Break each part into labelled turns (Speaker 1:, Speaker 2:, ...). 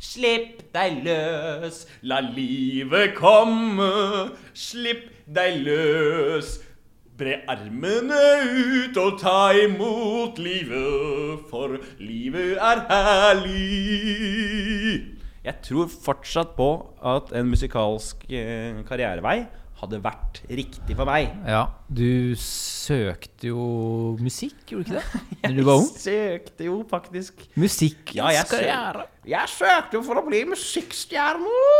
Speaker 1: Slipp deg løs, la livet komme. Slipp deg løs. Bre armene ut og ta imot livet, for livet er herlig. Jeg tror fortsatt på at en musikalsk eh, karrierevei hadde vært riktig for meg.
Speaker 2: Ja, du søkte jo musikk, gjorde du ikke det? Når du var ung?
Speaker 1: søkte jo faktisk
Speaker 2: Musikkens
Speaker 1: Ja, jeg sø-
Speaker 2: karriere.
Speaker 1: Jeg søkte jo for å bli musikkstjerne!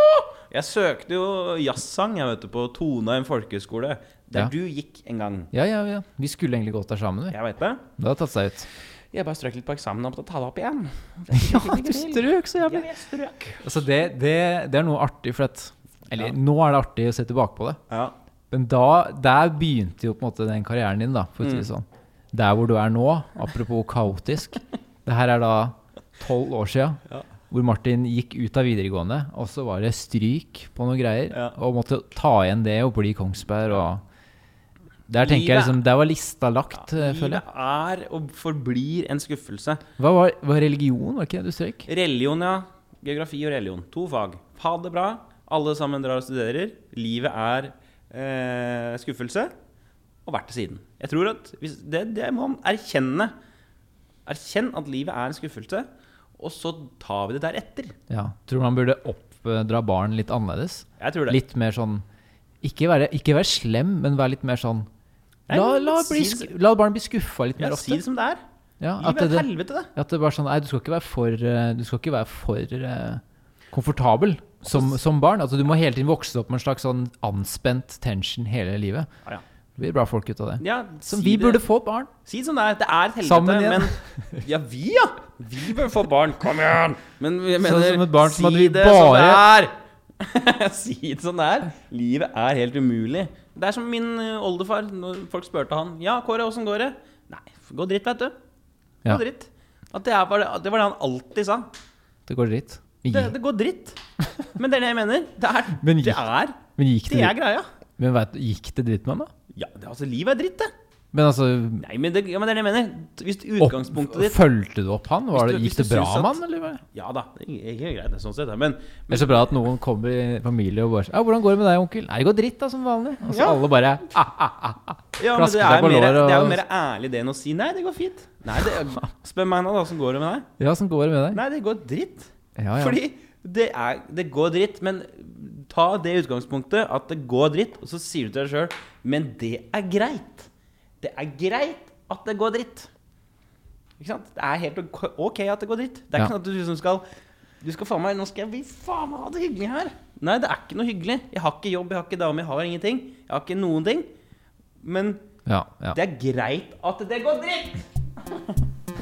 Speaker 1: Jeg søkte jo jazzsang jeg vet du, på Toneheim folkehøgskole, der
Speaker 2: Ja.
Speaker 1: du gikk en gang.
Speaker 2: Ja, ja, ja. Vi skulle egentlig gått der sammen, vi.
Speaker 1: Jeg vet det.
Speaker 2: Det hadde tatt seg ut.
Speaker 1: Jeg bare strøk litt på eksamen og måtte ta det opp igjen.
Speaker 2: Ja, du strøk så
Speaker 1: Ja,
Speaker 2: jævlig.
Speaker 1: jeg strøk.
Speaker 2: Altså, det, det, det er noe artig, for at Eller
Speaker 1: Ja.
Speaker 2: nå er det artig å se tilbake på det.
Speaker 1: Ja.
Speaker 2: Men da, der begynte jo på en måte den karrieren din, da, for å si
Speaker 1: Mm.
Speaker 2: det sånn. Der hvor du er nå, apropos kaotisk. Det her er da tolv år sia, hvor Martin gikk ut av videregående, og så var det stryk på noen greier,
Speaker 1: Ja.
Speaker 2: og måtte ta igjen det og bli Kongsberg og Der tenker jeg
Speaker 1: Livet-
Speaker 2: liksom, der var lista lagt, eh, føler jeg.
Speaker 1: Livet er og forblir en skuffelse.
Speaker 2: Hva var, var religion, var det ikke det du strøk?
Speaker 1: Religion, ja. Geografi og religion. To fag. Ha det bra. Alle sammen drar og studerer. Livet er eh, skuffelse. Og vært til siden. Jeg tror at hvis, det, det må man erkjenne. Erkjenn at livet er en skuffelse, og så tar vi det deretter.
Speaker 2: Ja. Tror man burde oppdra barn litt annerledes?
Speaker 1: Jeg tror det.
Speaker 2: Litt mer sånn ikke være, ikke være slem, men være litt mer sånn
Speaker 1: Nei,
Speaker 2: La,
Speaker 1: men
Speaker 2: la,
Speaker 1: si
Speaker 2: bli,
Speaker 1: det
Speaker 2: sku- la barn bli skuffa litt
Speaker 1: Ja,
Speaker 2: mer
Speaker 1: si
Speaker 2: ofte.
Speaker 1: det som det er.
Speaker 2: Ja, at
Speaker 1: Livet er
Speaker 2: det,
Speaker 1: et helvete, det.
Speaker 2: at det bare er sånn Nei, du skal ikke være for, eh, du skal ikke være for eh, komfortabel som, som barn. Altså, du må hele tiden vokse opp med en slags sånn anspent tension hele livet.
Speaker 1: Ja, ja.
Speaker 2: Det blir bra folk ut av det.
Speaker 1: Ja,
Speaker 2: Som
Speaker 1: si
Speaker 2: vi
Speaker 1: det.
Speaker 2: burde få barn.
Speaker 1: Si det som det er. Det er et helvete,
Speaker 2: Sammen igjen.
Speaker 1: men Ja, vi, ja! Vi bør få barn. Kom igjen! Men jeg mener,
Speaker 2: Sånn som et barn som hadde vi
Speaker 1: det som det er! si det som det er. Livet er helt umulig. Det er som min ø, oldefar. Når folk spurte han Ja, Kåre, åssen går det? Nei, det går dritt, vet du. Det
Speaker 2: Ja,
Speaker 1: går dritt. At det, er, var det, det var det han alltid sa.
Speaker 2: det går dritt. Men
Speaker 1: Det,
Speaker 2: gikk,
Speaker 1: det går dritt. Men det er det jeg mener. Det er
Speaker 2: Men
Speaker 1: det,
Speaker 2: gikk-
Speaker 1: er,
Speaker 2: men gikk, det,
Speaker 1: det er
Speaker 2: dritt-
Speaker 1: greia.
Speaker 2: men vet, du, gikk det dritt med han, da?
Speaker 1: Ja, det, altså, livet er dritt, det.
Speaker 2: Men altså
Speaker 1: Nei, men det, ja, men det er det jeg mener. Hvis
Speaker 2: opp,
Speaker 1: utgangspunktet ditt
Speaker 2: Fulgte du opp han?
Speaker 1: Hvis
Speaker 2: Var
Speaker 1: du-
Speaker 2: det,
Speaker 1: hvis
Speaker 2: gikk
Speaker 1: du
Speaker 2: det bra
Speaker 1: syns at-
Speaker 2: med han, eller? hva?
Speaker 1: Ja da, det er ikke greit det er sånn sett, ja, men,
Speaker 2: Det er så bra at noen kommer i familie og bare sånn, Ja, 'Hvordan går det med deg, onkel?' 'Nei, det går dritt, da, som vanlig.' Og så
Speaker 1: Ja.
Speaker 2: alle bare ah,
Speaker 1: ja, men
Speaker 2: Klaske
Speaker 1: det,
Speaker 2: deg
Speaker 1: er
Speaker 2: på
Speaker 1: mer,
Speaker 2: låret og-
Speaker 1: det er jo mer ærlig det enn å si 'nei, det går fint'. Nei, det, Spør meg nå, da, åssen går det med deg?
Speaker 2: 'Ja, åssen går det med deg?'
Speaker 1: Nei, det går dritt.
Speaker 2: Ja, ja.
Speaker 1: Fordi det, er, det går dritt, men ta det utgangspunktet at det går dritt, og så sier du til deg sjøl 'men det er greit'. Det er greit at det går dritt. Ikke sant? Det er helt ok- ok at det går dritt. Det er
Speaker 2: Ja.
Speaker 1: ikke sånn at du liksom skal Du skal faen meg Nå skal vi faen meg ha det hyggelig her. Nei, det er ikke noe hyggelig. Jeg har ikke jobb, jeg har ikke dame, jeg har ingenting. Jeg har ikke noen ting. Men
Speaker 2: Ja, ja.
Speaker 1: det er greit at det går dritt!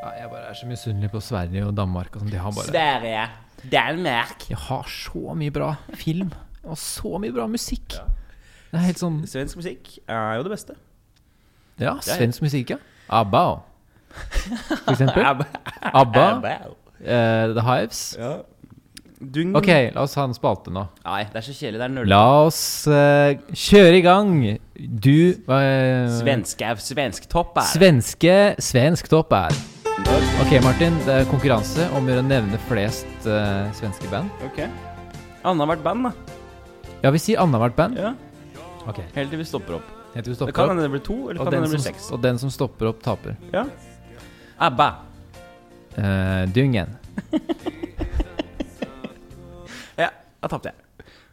Speaker 2: Ja, Jeg bare er så misunnelig på Sverige og Danmark. Og sånn. de har bare
Speaker 1: Sverige, Danmark
Speaker 2: De har så mye bra film og så mye bra musikk. Det er helt sånn
Speaker 1: Svensk musikk er jo det beste.
Speaker 2: Ja,
Speaker 1: ja.
Speaker 2: svensk musikk, ja. ABBA, og- for eksempel.
Speaker 1: Abba.
Speaker 2: ABBA, eh, The Hives.
Speaker 1: Dung.
Speaker 2: Ok, la oss ha en spalte nå.
Speaker 1: Nei, det er så kjedelig. Det er nølete.
Speaker 2: La oss eh, kjøre i gang. Du eh,
Speaker 1: Svenske er svensktopper.
Speaker 2: Svenske svensktopp er Ok, Martin. Det er konkurranse om å gjøre å nevne flest eh, svenske band.
Speaker 1: ok. Annethvert band, da.
Speaker 2: Ja, vi sier annethvert band.
Speaker 1: Ja.
Speaker 2: Ok,
Speaker 1: Helt til vi stopper opp.
Speaker 2: Helt til vi
Speaker 1: Det
Speaker 2: stopper
Speaker 1: kan
Speaker 2: opp.
Speaker 1: hende det blir to, eller
Speaker 2: Og
Speaker 1: kan
Speaker 2: den,
Speaker 1: hende det blir
Speaker 2: som,
Speaker 1: seks.
Speaker 2: og den som stopper opp, taper.
Speaker 1: Ja. Abba.
Speaker 2: Eh, dungen.
Speaker 1: Ja, da tapte jeg.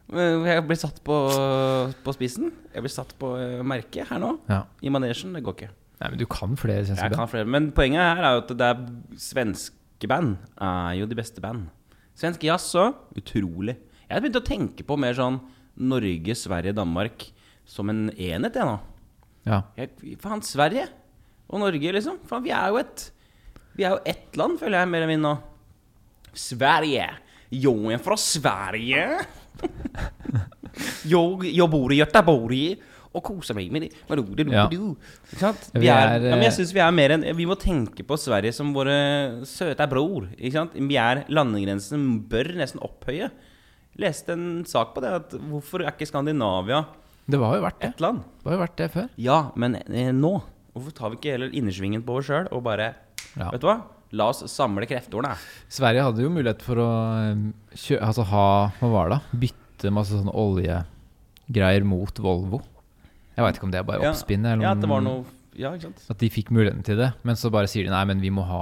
Speaker 1: Men Jeg blir satt på, på spissen. Jeg blir satt på eh, merket her nå.
Speaker 2: Ja.
Speaker 1: I manesjen. Det går ikke.
Speaker 2: Nei, men du kan flere svenske
Speaker 1: Jeg
Speaker 2: band.
Speaker 1: kan flere. Men poenget her er jo at det er svenske band er jo de beste band. Svensk jazz òg. Utrolig. Jeg har begynt å tenke på mer sånn Norge, Sverige, Danmark som en enhet, jeg nå.
Speaker 2: Ja.
Speaker 1: Jeg, faen, Sverige og Norge, liksom. Faen, vi er jo et Vi er jo ett land, føler jeg, mer eller mindre nå. Sverige. Jo, jeg er fra Sverige. jo, jeg bor i Göteborg og koser meg med det. Men du, du,
Speaker 2: Ja.
Speaker 1: du. Ikke sant?
Speaker 2: Vi
Speaker 1: Vi er,
Speaker 2: er,
Speaker 1: ja, men
Speaker 2: eh,
Speaker 1: jeg syns vi er mer enn Vi må tenke på Sverige som våre søte bror. Ikke sant? Vi er Landegrensen bør nesten opphøye. Leste en sak på det. At hvorfor er ikke Skandinavia
Speaker 2: Det var jo verdt det.
Speaker 1: Et eller annet.
Speaker 2: Det var jo verdt det før.
Speaker 1: Ja, men eh, nå Hvorfor tar vi ikke heller innersvingen på oss sjøl og bare
Speaker 2: Ja.
Speaker 1: Vet du hva? La oss samle kreftordene.
Speaker 2: Sverige hadde jo mulighet for å eh, kjø altså ha Hva var det? da? Bytte masse sånne oljegreier mot Volvo. Jeg veit ikke om det er bare
Speaker 1: Ja.
Speaker 2: oppspinn, eller
Speaker 1: Ja, at det var
Speaker 2: om
Speaker 1: noe Ja, ikke sant?
Speaker 2: at de fikk muligheten til det. Men så bare sier de nei, men vi må ha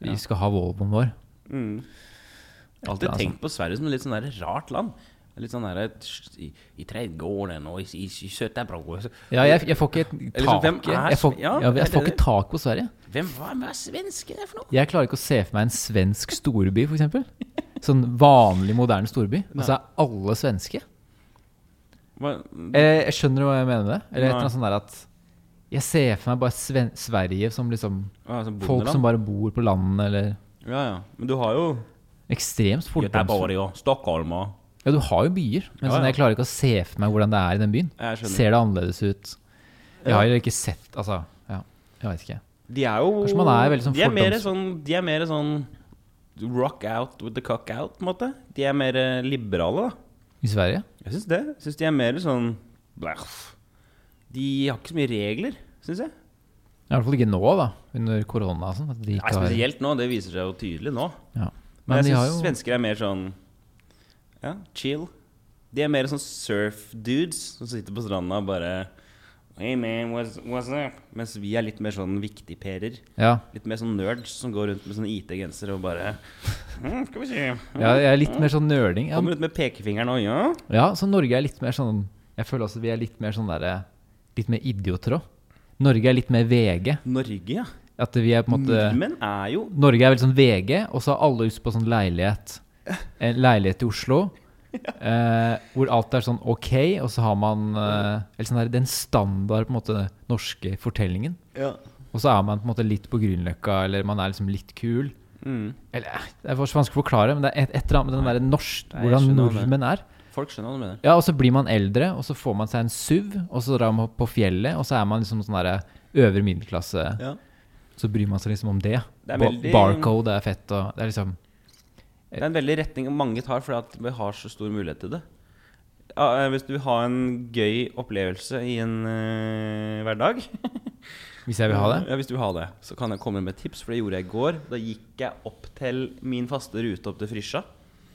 Speaker 2: Vi
Speaker 1: Ja.
Speaker 2: skal ha Volvoen vår.
Speaker 1: Mm. Jeg har
Speaker 2: Eller
Speaker 1: alltid
Speaker 2: noe
Speaker 1: tenkt på Sverige som et litt sånn der rart land. Litt sånn der I, i trädgården og i, i, i Sötabro.
Speaker 2: Ja, jeg, jeg får ikke et
Speaker 1: Eller så,
Speaker 2: tak
Speaker 1: hvem er
Speaker 2: jeg, får,
Speaker 1: Sve-
Speaker 2: ja,
Speaker 1: ja,
Speaker 2: jeg
Speaker 1: er
Speaker 2: får
Speaker 1: det
Speaker 2: ikke tak på Sverige.
Speaker 1: Hvem var med svenskene for noe?
Speaker 2: Jeg klarer ikke å se for meg en svensk storby, f.eks. Sånn vanlig, moderne storby. Og så er alle svenske.
Speaker 1: Hva-
Speaker 2: Eh, Jeg skjønner hva jeg mener med det. Eller
Speaker 1: Nei.
Speaker 2: et eller annet sånt der at Jeg ser for meg bare Sven Sverige som liksom
Speaker 1: hva, sånn
Speaker 2: folk
Speaker 1: bondeland?
Speaker 2: som bare bor på landet, eller
Speaker 1: Ja, ja. Men du har jo
Speaker 2: Ekstremt fordomsfulle.
Speaker 1: Göteborg og Stockholm og
Speaker 2: Ja, du har jo byer, men
Speaker 1: Ja,
Speaker 2: sånn,
Speaker 1: ja.
Speaker 2: jeg klarer ikke å se for meg hvordan det er i den byen.
Speaker 1: Jeg skjønner.
Speaker 2: Ser det annerledes ut? Jeg har jo ikke sett Altså, ja, jeg veit ikke.
Speaker 1: De er jo
Speaker 2: Kanskje man er veldig sånn
Speaker 1: de, er mer
Speaker 2: fordoms-
Speaker 1: sånn, de er mer sånn rock out with the cock out, på en måte. De er mer eh, liberale, da.
Speaker 2: I Sverige?
Speaker 1: Jeg syns det. Jeg syns de er mer sånn blæff. De har ikke så mye regler, syns jeg.
Speaker 2: I hvert fall ikke nå, da, under korona og sånn. at de
Speaker 1: Nei,
Speaker 2: ikke har-
Speaker 1: spesielt nå. Det viser seg jo tydelig nå.
Speaker 2: Ja.
Speaker 1: Men,
Speaker 2: Men de
Speaker 1: jeg
Speaker 2: har
Speaker 1: syns
Speaker 2: jo
Speaker 1: svensker er mer sånn ja, chill. De er mer sånn surf-dudes som sitter på stranda og bare Hey man, what's, what's up? Mens vi er litt mer sånn viktigperer.
Speaker 2: Ja.
Speaker 1: Litt mer sånn nerds som går rundt med sånne IT-gensere og bare mm, Skal vi se.
Speaker 2: Ja, jeg er litt mer sånn nerding. Ja,
Speaker 1: Kommer ut med pekefingeren og ja.
Speaker 2: ja, så Norge er litt mer sånn Jeg føler også vi er litt mer sånn derre Litt mer idioter òg. Norge er litt mer VG.
Speaker 1: Norge, ja.
Speaker 2: At vi er på en måte
Speaker 1: Nordmenn er jo
Speaker 2: Norge er veldig sånn VG, og så har alle lyst på sånn leilighet. En leilighet i Oslo. eh, hvor alt er sånn ok, og så har man eh, eller sånn der, den standard på en måte norske fortellingen.
Speaker 1: ja.
Speaker 2: Og så er man på en måte litt på Grünerløkka, eller man er liksom litt kul.
Speaker 1: Mm.
Speaker 2: Eller, eh, det er for- så vanskelig å forklare, men det er et, et eller annet med den derre
Speaker 1: Nei,
Speaker 2: norsk,
Speaker 1: jeg
Speaker 2: hvordan
Speaker 1: skjønner hva du
Speaker 2: nordmenn er.
Speaker 1: Folk skjønner hva du mener.
Speaker 2: Ja, og så blir man eldre, og så får man seg en SUV, og så drar man på fjellet, og så er man liksom sånn derre øvre middelklasse.
Speaker 1: Ja.
Speaker 2: Så bryr man seg liksom om det.
Speaker 1: Det er
Speaker 2: Ba-
Speaker 1: veldig-
Speaker 2: Barcode er fett, og det er liksom
Speaker 1: Det er en veldig retning mange tar fordi at vi har så stor mulighet til det. Ja, eh, hvis du vil ha en gøy opplevelse i en eh, hverdag
Speaker 2: Hvis jeg vil ha det?
Speaker 1: Ja, hvis du vil ha det, så kan jeg komme med et tips, for det gjorde jeg i går. Da gikk jeg opp til min faste rute opp til Frysja.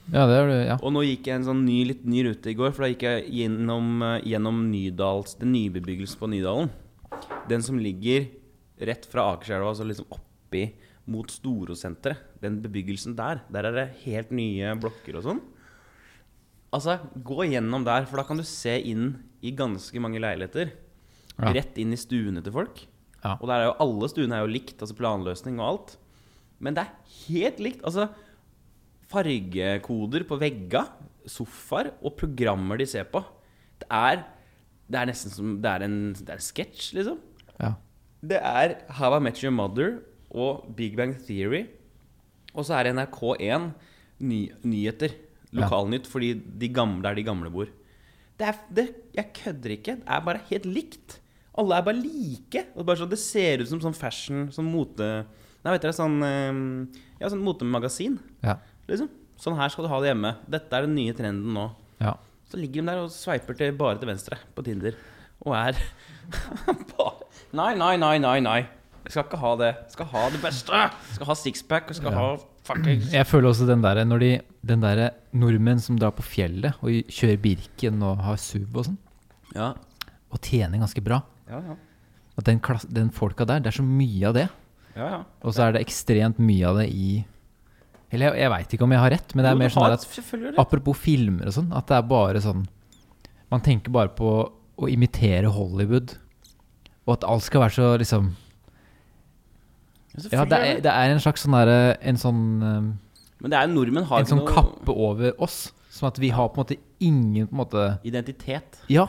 Speaker 2: Ja, det gjør du. Ja.
Speaker 1: Og nå gikk jeg en sånn ny, litt ny rute i går, for da gikk jeg gjennom, eh, gjennom Nydals, den nybebyggelsen på Nydalen. Den som ligger rett fra Akerselva, altså liksom oppi mot Storosenteret. Den bebyggelsen der. Der er det helt nye blokker og sånn. Altså, gå gjennom der, for da kan du se inn i ganske mange leiligheter.
Speaker 2: Ja.
Speaker 1: Rett inn i stuene til folk.
Speaker 2: Ja.
Speaker 1: Og der er jo alle stuene er jo likt, altså planløsning og alt. Men det er helt likt. Altså, fargekoder på vegga, sofaer og programmer de ser på. Det er, det er nesten som Det er en, det er en sketsj, liksom.
Speaker 2: Ja.
Speaker 1: Det er How I Met Your Mother og Big Bang Theory. Og så er det NRK1 ny, nyheter. Lokalnytt, fordi de gamle, der de gamle bor. Det er, det, jeg kødder ikke. Det er bare helt likt. Alle er bare like. Og bare sånn, det ser ut som sånn fashion, sånn mote... Nei, vet dere, sånn, eh, ja, sånn motemagasin.
Speaker 2: Ja.
Speaker 1: Liksom. Sånn her skal du ha det hjemme. Dette er den nye trenden nå.
Speaker 2: ja.
Speaker 1: Så ligger de der og sveiper til bare til venstre på Tinder. Og er bare Nei, nei, nei, nei, nei. Jeg skal ikke ha det. Jeg skal ha det beste. Jeg skal ha sixpack. Jeg skal ha fucking
Speaker 2: Jeg føler også den derre når de Den derre nordmenn som drar på fjellet og i- kjører Birken og har SUV og sånn,
Speaker 1: Ja.
Speaker 2: og tjener ganske bra
Speaker 1: Ja, ja.
Speaker 2: At den, klass, den folka der, det er så mye av det.
Speaker 1: ja, ja.
Speaker 2: Og så er det ekstremt mye av det i Eller jeg, jeg veit ikke om jeg har rett, men det
Speaker 1: Jo,
Speaker 2: er
Speaker 1: du
Speaker 2: mer sånn
Speaker 1: har
Speaker 2: der at
Speaker 1: selvfølgelig rett.
Speaker 2: Apropos filmer og sånn, at det er bare sånn Man tenker bare på å imitere Hollywood, og at alt skal være så liksom Ja,
Speaker 1: Selvfølgelig
Speaker 2: det
Speaker 1: har
Speaker 2: er,
Speaker 1: du
Speaker 2: det er en slags sånn derre En sånn, um,
Speaker 1: det. Men det er jo nordmenn har
Speaker 2: en
Speaker 1: ikke
Speaker 2: sånn
Speaker 1: noe
Speaker 2: kappe over oss. Sånn at vi har på en måte ingen på en måte
Speaker 1: identitet.
Speaker 2: Ja,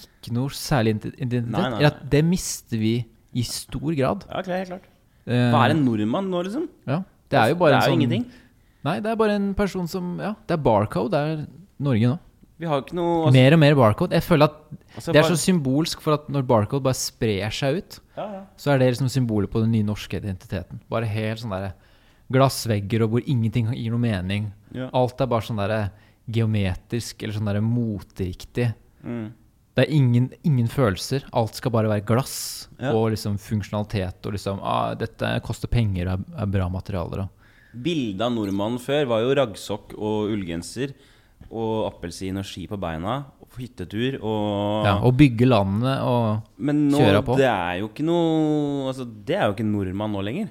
Speaker 2: ikke noe særlig ident- identitet.
Speaker 1: Nei, nei,
Speaker 2: Eller at det mister vi i stor grad.
Speaker 1: Ja, klart, klart.
Speaker 2: Eh,
Speaker 1: Hva er en nordmann nå, liksom?
Speaker 2: Ja, det er jo bare
Speaker 1: det er jo
Speaker 2: en sånn
Speaker 1: ingenting.
Speaker 2: Nei, det er bare en person som Ja, det er barcode. Det er Norge nå.
Speaker 1: Vi har ikke noe altså,
Speaker 2: Mer og mer barcode. Jeg føler at
Speaker 1: altså,
Speaker 2: det er
Speaker 1: bare-
Speaker 2: så symbolsk for at når barcode bare sprer seg ut,
Speaker 1: ja, ja.
Speaker 2: så er det liksom symbolet på den nye norske identiteten. Bare helt sånn derre glassvegger og hvor ingenting gir noe mening.
Speaker 1: Ja.
Speaker 2: eh, Alt er bare sånn derre geometrisk eller sånn derre eh, moteriktig.
Speaker 1: Mm.
Speaker 2: Det er ingen, ingen følelser. Alt skal bare være glass
Speaker 1: Ja.
Speaker 2: og liksom funksjonalitet. Og liksom ah, 'Dette koster penger, er, er bra materialer'. Og.
Speaker 1: Bildet av nordmannen før var jo raggsokk og ullgenser og appelsin og ski på beina. og på Hyttetur og
Speaker 2: Ja, og bygge landet og
Speaker 1: Men nå,
Speaker 2: kjøra på.
Speaker 1: det er jo ikke noe altså, Det er jo ikke nordmann nå lenger.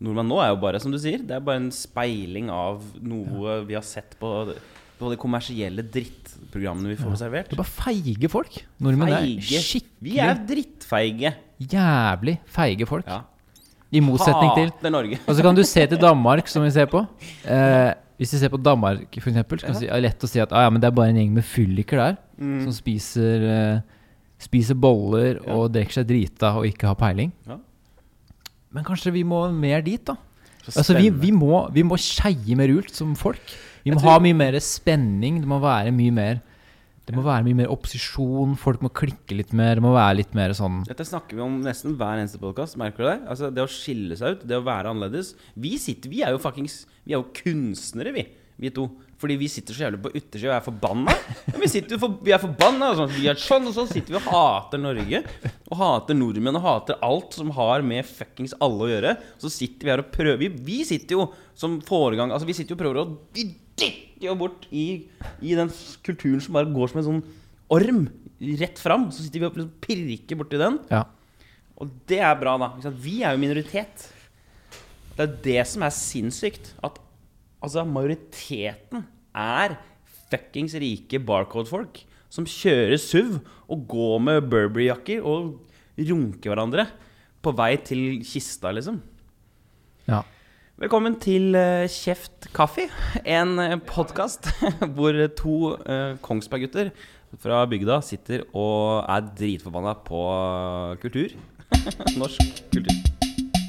Speaker 1: Nordmann nå er jo bare, som du sier, det er bare en speiling av noe vi har sett på, på de kommersielle drittprogrammene vi får servert.
Speaker 2: Det er bare feige folk. Nordmenn
Speaker 1: Feige.
Speaker 2: er
Speaker 1: Vi
Speaker 2: skikkelig
Speaker 1: er drittfeige.
Speaker 2: jævlig feige folk.
Speaker 1: Ja.
Speaker 2: I motsetning til
Speaker 1: Hater Norge.
Speaker 2: Og så kan du se til Danmark, som vi ser på. Eh, hvis vi ser på Danmark, for eksempel, så kan det er lett å si at ah, ja, men det er bare en gjeng med fylliker der
Speaker 1: Mm.
Speaker 2: som spiser, eh, spiser boller og drikker seg drita og ikke har peiling.
Speaker 1: Ja.
Speaker 2: Men kanskje vi må mer dit, da.
Speaker 1: Så
Speaker 2: Altså, vi,
Speaker 1: spennende.
Speaker 2: vi må, vi må skeie mer ut som folk. Vi
Speaker 1: Jeg
Speaker 2: må
Speaker 1: tror-
Speaker 2: ha mye mer spenning. Det må være mye mer Det må være mye mer opposisjon. Folk må klikke litt mer. Det må være litt mer sånn
Speaker 1: Dette snakker vi om nesten hver eneste podkast. Merker du det? Altså, det å skille seg ut, det å være annerledes. Vi sitter, vi er jo fuckings Vi er jo kunstnere, vi. Vi to. Fordi vi sitter så jævlig på yttersida og er forbanna. Men vi, sitter jo for, vi er forbanna, og sånn, vi er sånn, og så sitter vi og hater Norge. Og hater nordmenn og hater alt som har med fuckings alle å gjøre. Så sitter vi her og prøver Vi, vi sitter jo som foregang Altså, vi sitter jo og prøver å Vi dytter jo bort i, i den kulturen som bare går som en sånn orm rett fram. Så sitter vi og liksom pirker borti den.
Speaker 2: Ja.
Speaker 1: Og det er bra, da. Ikke sant? Vi er jo minoritet. Det er det som er sinnssykt. At altså, majoriteten er fuckings rike barcode-folk som kjører SUV og går med Burberry-jakker og runker hverandre på vei til kista, liksom.
Speaker 2: ja.
Speaker 1: Velkommen til eh, Kjeft kaffe, en uh, podkast hvor to eh, Kongsberg-gutter fra bygda sitter og er dritforbanna på eh, kultur. Norsk kultur.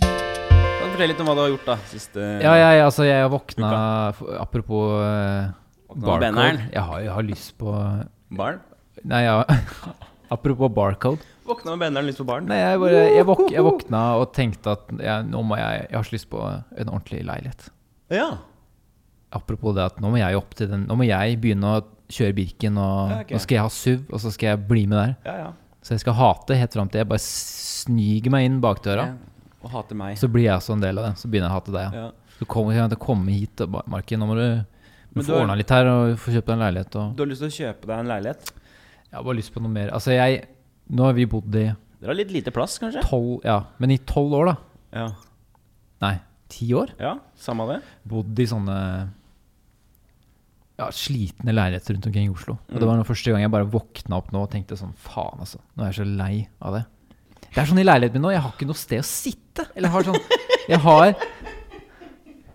Speaker 1: Kan du fortelle litt om hva du har gjort da, siste
Speaker 2: Ja, jeg, altså, jeg våkna f- Apropos eh,
Speaker 1: Våkna med
Speaker 2: barcode.
Speaker 1: benneren.
Speaker 2: Jeg har, jeg har lyst på
Speaker 1: barn?
Speaker 2: Nei, jeg, apropos barcode.
Speaker 1: Våkna med benderen lyst på barn.
Speaker 2: Nei, jeg, bare, jeg, våk, jeg våkna og tenkte at jeg, nå må jeg, jeg har så lyst på en ordentlig leilighet.
Speaker 1: Ja.
Speaker 2: Apropos det at nå må jeg opp til den Nå må jeg begynne å kjøre Birken, og
Speaker 1: Ja, ok.
Speaker 2: nå skal jeg ha SUV, og så skal jeg bli med der.
Speaker 1: ja, ja.
Speaker 2: Så jeg skal hate helt fram til jeg bare sniker meg inn bakdøra.
Speaker 1: Eh, Og hater meg.
Speaker 2: Så blir jeg også en del av det. Så begynner jeg å hate deg. Ja.
Speaker 1: Ja.
Speaker 2: Så kommer jeg til å komme hit, og bare, Marken, nå må du,
Speaker 1: Men
Speaker 2: må
Speaker 1: du
Speaker 2: få
Speaker 1: har-
Speaker 2: ordna litt her og få kjøpt deg en leilighet. Og
Speaker 1: Du har lyst til å kjøpe deg en leilighet?
Speaker 2: Jeg har bare lyst på noe mer. Altså, jeg Nå har vi bodd i
Speaker 1: Dere har litt lite plass, kanskje?
Speaker 2: tolv Ja, men i tolv år, da.
Speaker 1: Ja.
Speaker 2: Nei, ti år.
Speaker 1: ja samme det?
Speaker 2: Bodd i sånne ja, slitne leiligheter rundt omkring i Oslo. Og
Speaker 1: Mm.
Speaker 2: det var den første gang jeg bare våkna opp nå og tenkte sånn Faen, altså. Nå er jeg så lei av det. Det er sånn i leiligheten min nå. Jeg har ikke noe sted å sitte. Eller jeg har sånn Jeg har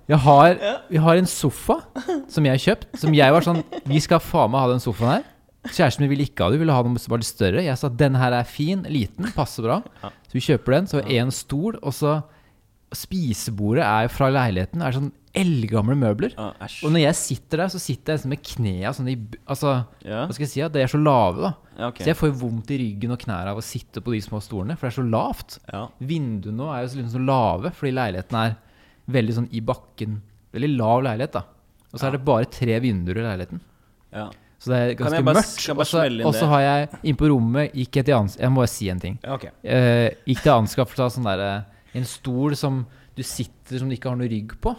Speaker 2: jeg har, vi har en sofa som jeg har kjøpt. Som jeg var sånn Vi skal faen meg ha den sofaen her. Kjæresten min ville ikke ha det, hun ville ha noe som var litt større. Jeg sa den her er fin, liten, passer bra. Så vi kjøper den. Så er det én stol, og så Spisebordet er fra leiligheten. Det er sånn eldgamle møbler.
Speaker 1: Ja, æsj.
Speaker 2: Og når jeg sitter der, så sitter jeg liksom med knea sånn i b- Altså,
Speaker 1: Ja.
Speaker 2: hva skal jeg si? At de er så lave, da.
Speaker 1: Ja, ok.
Speaker 2: Så jeg får jo vondt i ryggen og knærne av å sitte på de små stolene, for det er så lavt.
Speaker 1: Ja.
Speaker 2: Vinduene nå er jo så liksom så lave, fordi leiligheten er veldig sånn i bakken. Veldig lav leilighet, da. Og så er det bare tre vinduer i leiligheten.
Speaker 1: Ja.
Speaker 2: Så det er
Speaker 1: Kan jeg
Speaker 2: ganske
Speaker 1: bare-
Speaker 2: mørkt.
Speaker 1: kan jeg bare
Speaker 2: Og så-
Speaker 1: smelle inn
Speaker 2: Og
Speaker 1: det?
Speaker 2: så har jeg inne på rommet gikk jeg til ans... Jeg må bare si en ting.
Speaker 1: ja, ok.
Speaker 2: Eh, gikk til anskaffelse av sånn der, eh, en stol som du sitter som du ikke har noe rygg på.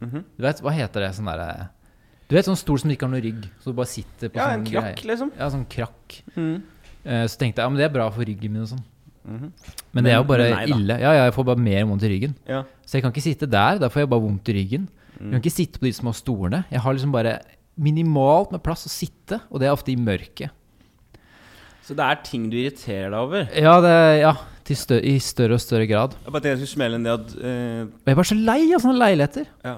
Speaker 1: Mhm.
Speaker 2: Du vet, Hva heter det? Sånn der, eh, du vet sånn stol som ikke har noe rygg? Så du bare sitter på
Speaker 1: Ja, en
Speaker 2: sånn
Speaker 1: krakk,
Speaker 2: greie.
Speaker 1: liksom.
Speaker 2: Ja, sånn krakk.
Speaker 1: Mhm.
Speaker 2: Eh, så tenkte jeg ja, men det er bra for ryggen min og sånn. Men det er jo
Speaker 1: Men-
Speaker 2: bare
Speaker 1: men nei da.
Speaker 2: ille. Ja, ja, jeg får bare mer vondt i ryggen.
Speaker 1: Ja.
Speaker 2: Så jeg kan ikke sitte der. Da får jeg bare vondt i ryggen. Jeg
Speaker 1: Mhm.
Speaker 2: kan ikke sitte på de små stolene. Jeg har liksom bare minimalt med plass å sitte, og det er ofte i mørket.
Speaker 1: Så det er ting du irriterer deg over?
Speaker 2: Ja, det, ja til stø i større og større grad.
Speaker 1: Jeg bare tenkte jeg skulle smelle inn det at eh,
Speaker 2: Og jeg er bare så lei av sånne leiligheter.
Speaker 1: ja.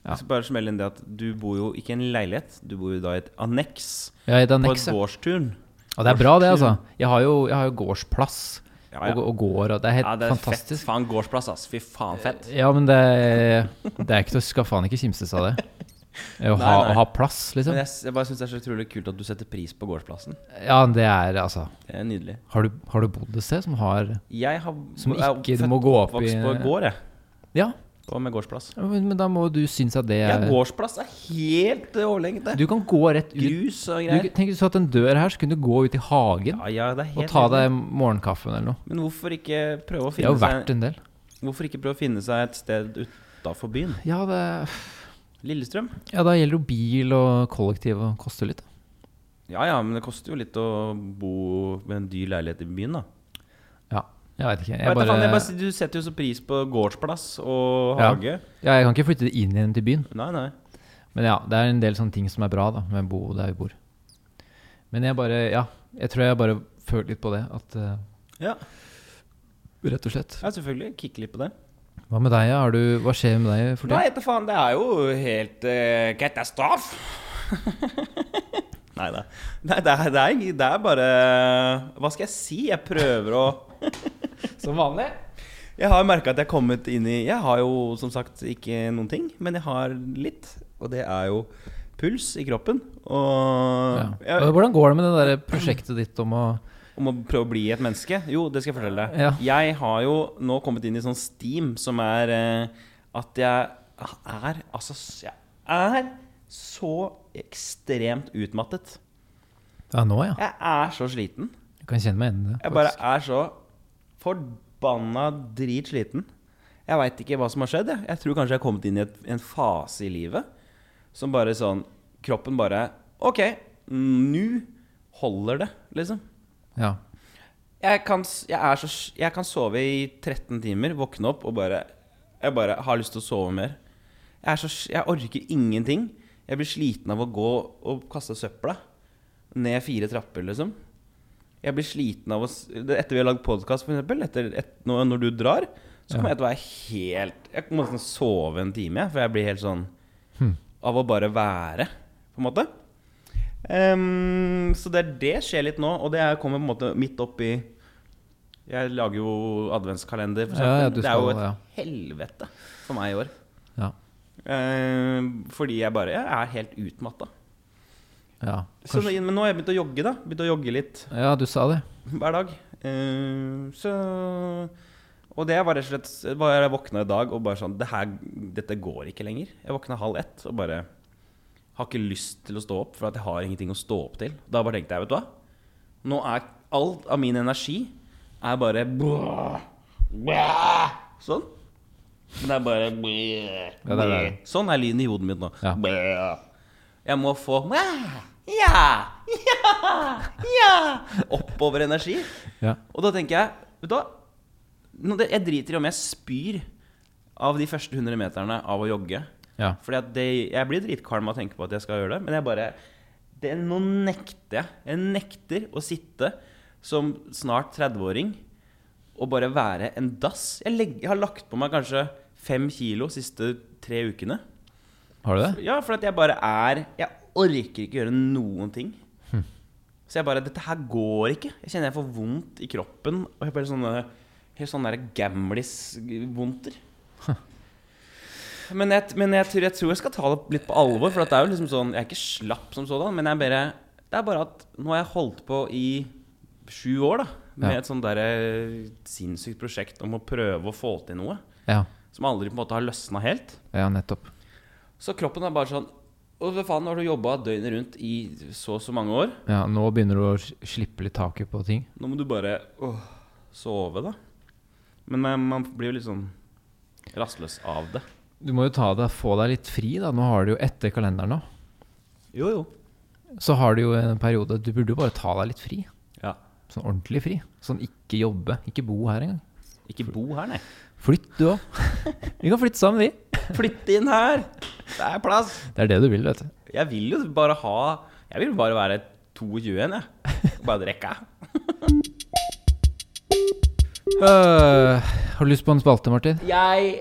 Speaker 2: Ja.
Speaker 1: Jeg skal bare smelle inn det at du bor jo ikke i en leilighet, du bor jo da i et anneks.
Speaker 2: Ja, i
Speaker 1: På
Speaker 2: Danex,
Speaker 1: et
Speaker 2: ja.
Speaker 1: gårdsturn.
Speaker 2: Og det er bra, det, altså. Jeg har jo, jeg har jo gårdsplass
Speaker 1: Ja, ja.
Speaker 2: Og, og gård, og det er helt
Speaker 1: Ja, det er fett.
Speaker 2: fantastisk. Eh,
Speaker 1: Faen, gårdsplass, ass. Fy faen, fett.
Speaker 2: Ja, men det, det er ikke til å skal faen ikke kimses av det. Å ha,
Speaker 1: nei.
Speaker 2: å ha plass, liksom.
Speaker 1: Men jeg, s- jeg bare syns det er så utrolig kult at du setter pris på gårdsplassen.
Speaker 2: Ja, det er altså
Speaker 1: Det er nydelig.
Speaker 2: Har du, har du bodd et sted som har
Speaker 1: Jeg har,
Speaker 2: Som
Speaker 1: jeg er
Speaker 2: ikke du
Speaker 1: født
Speaker 2: må gå
Speaker 1: og
Speaker 2: opp i- eh.
Speaker 1: oppvokst på en gård, jeg.
Speaker 2: Ja,
Speaker 1: Og med gårdsplass.
Speaker 2: Ja, Men, men da må du synes at det
Speaker 1: Ja,
Speaker 2: er
Speaker 1: gårdsplass er helt eh, overlegent, det.
Speaker 2: Du kan gå rett ut.
Speaker 1: Grus og
Speaker 2: Du,
Speaker 1: greier.
Speaker 2: tenk hvis du hadde en dør her, så kunne du gå ut i hagen
Speaker 1: Ja, ja, det er
Speaker 2: og
Speaker 1: helt
Speaker 2: ta
Speaker 1: enig.
Speaker 2: deg morgenkaffen eller noe.
Speaker 1: Men hvorfor ikke prøve å
Speaker 2: Det har
Speaker 1: finne
Speaker 2: jo vært
Speaker 1: seg
Speaker 2: en del.
Speaker 1: Hvorfor ikke prøve å finne seg et sted utafor byen?
Speaker 2: Ja, det,
Speaker 1: Lillestrøm?
Speaker 2: ja, da gjelder jo bil og kollektiv og koster litt.
Speaker 1: Ja ja, men det koster jo litt å bo med en dyr leilighet i byen, da.
Speaker 2: Ja, jeg veit ikke.
Speaker 1: Jeg
Speaker 2: Jeg bare,
Speaker 1: faen, jeg bare, sier- du setter jo så pris på gårdsplass og
Speaker 2: Ja.
Speaker 1: hage.
Speaker 2: ja, jeg kan ikke flytte inn igjen til byen.
Speaker 1: Nei, nei.
Speaker 2: Men ja, det er en del sånne ting som er bra da, med å bo der vi bor. Men jeg bare, ja, jeg tror jeg bare følte litt på det, at eh,
Speaker 1: Ja,
Speaker 2: Rett og slett.
Speaker 1: ja selvfølgelig. Kikke litt på det.
Speaker 2: Hva med deg, ja? Har du, hva skjer med deg for
Speaker 1: Nei,
Speaker 2: tiden?
Speaker 1: etter faen, det er jo helt uh, katastrof. Nei, det, nei det, er, det, er, det er bare Hva skal jeg si? Jeg prøver å
Speaker 2: Som vanlig.
Speaker 1: Jeg har merka at jeg har kommet inn i Jeg har jo som sagt ikke noen ting, men jeg har litt. Og det er jo puls i kroppen. Og
Speaker 2: Ja.
Speaker 1: jeg,
Speaker 2: Hvordan går det med det der prosjektet ditt om å
Speaker 1: om å prøve å bli et menneske. Jo, det skal jeg fortelle deg.
Speaker 2: Ja.
Speaker 1: Jeg har jo nå kommet inn i sånn steam som er eh, at jeg er Altså, s- jeg er så ekstremt utmattet.
Speaker 2: Ja, nå, ja.
Speaker 1: Jeg er så sliten.
Speaker 2: Jeg kan kjenne meg igjen i det.
Speaker 1: Jeg bare
Speaker 2: faktisk.
Speaker 1: er så forbanna dritsliten. Jeg veit ikke hva som har skjedd. Jeg, jeg tror kanskje jeg har kommet inn i et, en fase i livet som bare sånn Kroppen bare OK, nå holder det, liksom.
Speaker 2: Ja.
Speaker 1: Jeg kan, s- jeg, er så, s- jeg kan sove i 13 timer, våkne opp og bare Jeg bare har lyst til å sove mer. Jeg, er så, s- jeg orker ingenting. Jeg blir sliten av å gå og kaste søpla ned fire trapper, liksom. Jeg blir sliten av å s- det- Etter vi har lagd podkast, f.eks., etter, et, når, når du drar, så kommer jeg til å være helt Jeg må nesten sove en time, jeg, for jeg blir helt sånn
Speaker 2: Hm.
Speaker 1: Av å bare være, på en måte. Ehm, så det er det skjer litt nå, og det er- kommer på en måte midt opp i Jeg lager jo adventskalender, for
Speaker 2: Ja, ja,
Speaker 1: eksempel.
Speaker 2: du
Speaker 1: det er jo
Speaker 2: skal-
Speaker 1: et
Speaker 2: ja.
Speaker 1: helvete for meg i år.
Speaker 2: ja.
Speaker 1: Ehm, fordi jeg bare jeg er helt utmatta.
Speaker 2: Ja.
Speaker 1: Så,
Speaker 2: Kanskje,
Speaker 1: nå- men nå har jeg begynt å jogge, da. Begynt å jogge litt
Speaker 2: ja, du sa det.
Speaker 1: hver dag. Eh, så Og det var rett og slett bare Jeg våkna i dag og bare sånn det her, Dette går ikke lenger. Jeg våkna halv ett og bare har ikke lyst til å stå opp, for at jeg har ingenting å stå opp til. Da bare tenkte jeg, vet du hva Nå er alt av min energi er bare Sånn. Men det er bare
Speaker 2: Ja, det er det.
Speaker 1: Sånn er lyden i hodet mitt nå.
Speaker 2: Ja.
Speaker 1: Jeg må få Ja! Ja! Ja! Oppover energi.
Speaker 2: Ja.
Speaker 1: Og da tenker jeg Vet du hva? Nå, det- Jeg driter i om jeg spyr av de første 100 meterne av å jogge.
Speaker 2: ja.
Speaker 1: Fordi at det, jeg blir dritkvalm av å tenke på at jeg skal gjøre det, men jeg bare det, Nå nekter jeg. Jeg nekter å sitte som snart 30-åring og bare være en dass. Jeg, legger, jeg har lagt på meg kanskje fem kilo siste tre ukene.
Speaker 2: Har du det?
Speaker 1: Ja, for at jeg bare er Jeg orker ikke gjøre noen ting. Så jeg bare Dette her går ikke. Jeg kjenner jeg får vondt i kroppen. Og jeg bare sånne Helt sånn derre gamlis-vondter. Men, jeg, men jeg, tror, jeg tror jeg skal ta det litt på alvor, for at det er jo liksom sånn Jeg er ikke slapp som sådan, men jeg bare Det er bare at nå har jeg holdt på i sju år, da. Med
Speaker 2: Ja.
Speaker 1: et sånn derre sinnssykt prosjekt om å prøve å få til noe
Speaker 2: Ja.
Speaker 1: som aldri på en måte har løsna helt.
Speaker 2: Ja, nettopp.
Speaker 1: Så kroppen er bare sånn Å, hva faen, nå har du jobba døgnet rundt i så og så mange år.
Speaker 2: Ja, nå begynner du å s- slippe litt taket på ting.
Speaker 1: Nå må du bare åh, sove, da. Men man, man blir jo litt sånn rastløs av det.
Speaker 2: Du må jo ta deg, få deg litt fri, da. Nå har du jo etter kalenderen, da.
Speaker 1: Jo, jo.
Speaker 2: Så har du jo en periode Du burde jo bare ta deg litt fri.
Speaker 1: Ja.
Speaker 2: Sånn ordentlig fri. Sånn ikke jobbe, ikke bo her engang.
Speaker 1: Ikke bo her, nei.
Speaker 2: Flytt du òg. Vi kan flytte sammen, vi.
Speaker 1: Flytt inn her! Det er plass!
Speaker 2: Det er det du vil, vet du.
Speaker 1: Jeg vil jo bare ha Jeg vil bare være 22 igjen, jeg. Bare drikke.
Speaker 2: Øh, har du lyst på en spalte, Martin?
Speaker 1: Jeg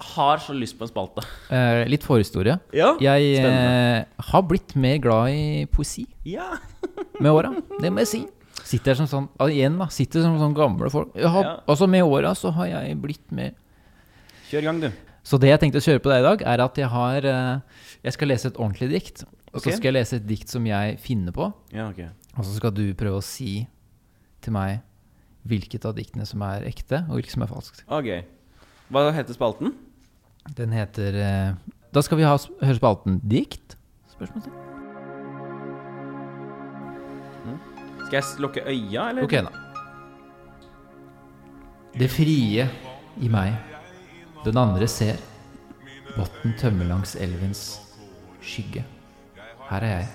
Speaker 1: har så lyst på en spalte.
Speaker 2: Eh, litt forhistorie.
Speaker 1: Ja,
Speaker 2: jeg
Speaker 1: spennende.
Speaker 2: eh, har blitt mer glad i poesi
Speaker 1: Ja.
Speaker 2: med åra. Det må jeg si. Sitter jeg som sånn ah, igjen da, sitter som sånn gamle folk. Jeg har,
Speaker 1: Ja.
Speaker 2: Altså Med åra så har jeg blitt mer
Speaker 1: Kjør i gang, du.
Speaker 2: Så det jeg tenkte å kjøre på deg i dag, er at jeg har eh, Jeg skal lese et ordentlig dikt. Og
Speaker 1: Ok.
Speaker 2: så skal jeg lese et dikt som jeg finner på.
Speaker 1: Ja, ok.
Speaker 2: Og så skal du prøve å si til meg hvilket av diktene som er ekte, og hvilket som er falskt.
Speaker 1: Ok. Hva heter spalten?
Speaker 2: Den heter eh, Da skal vi ha sp- høre spalten Dikt? Spørsmål
Speaker 1: Skal jeg s- lukke øya, eller?
Speaker 2: Ok, da. Det frie i meg, den andre ser. Botten tømmer langs elvens skygge. Her er jeg.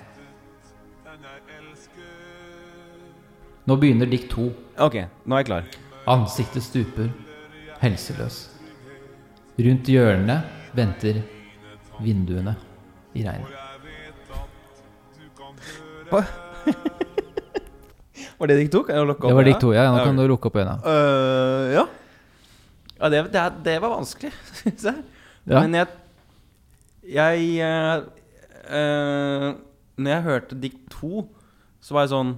Speaker 2: Nå begynner dikt to.
Speaker 1: Ok, nå er jeg klar.
Speaker 2: Ansiktet stuper, helseløs. Rundt hjørnene venter vinduene i regnet.
Speaker 1: Var det dikt to? Kan jeg lukke opp
Speaker 2: Det var
Speaker 1: øya?
Speaker 2: dikt to, ja. Nå kan
Speaker 1: ok.
Speaker 2: du lukke opp øynene.
Speaker 1: Øh, ja. ja det, det, er- det var vanskelig, syns jeg.
Speaker 2: Ja.
Speaker 1: Men jeg Jeg eh, eh, Når jeg hørte dikt to, så var jeg sånn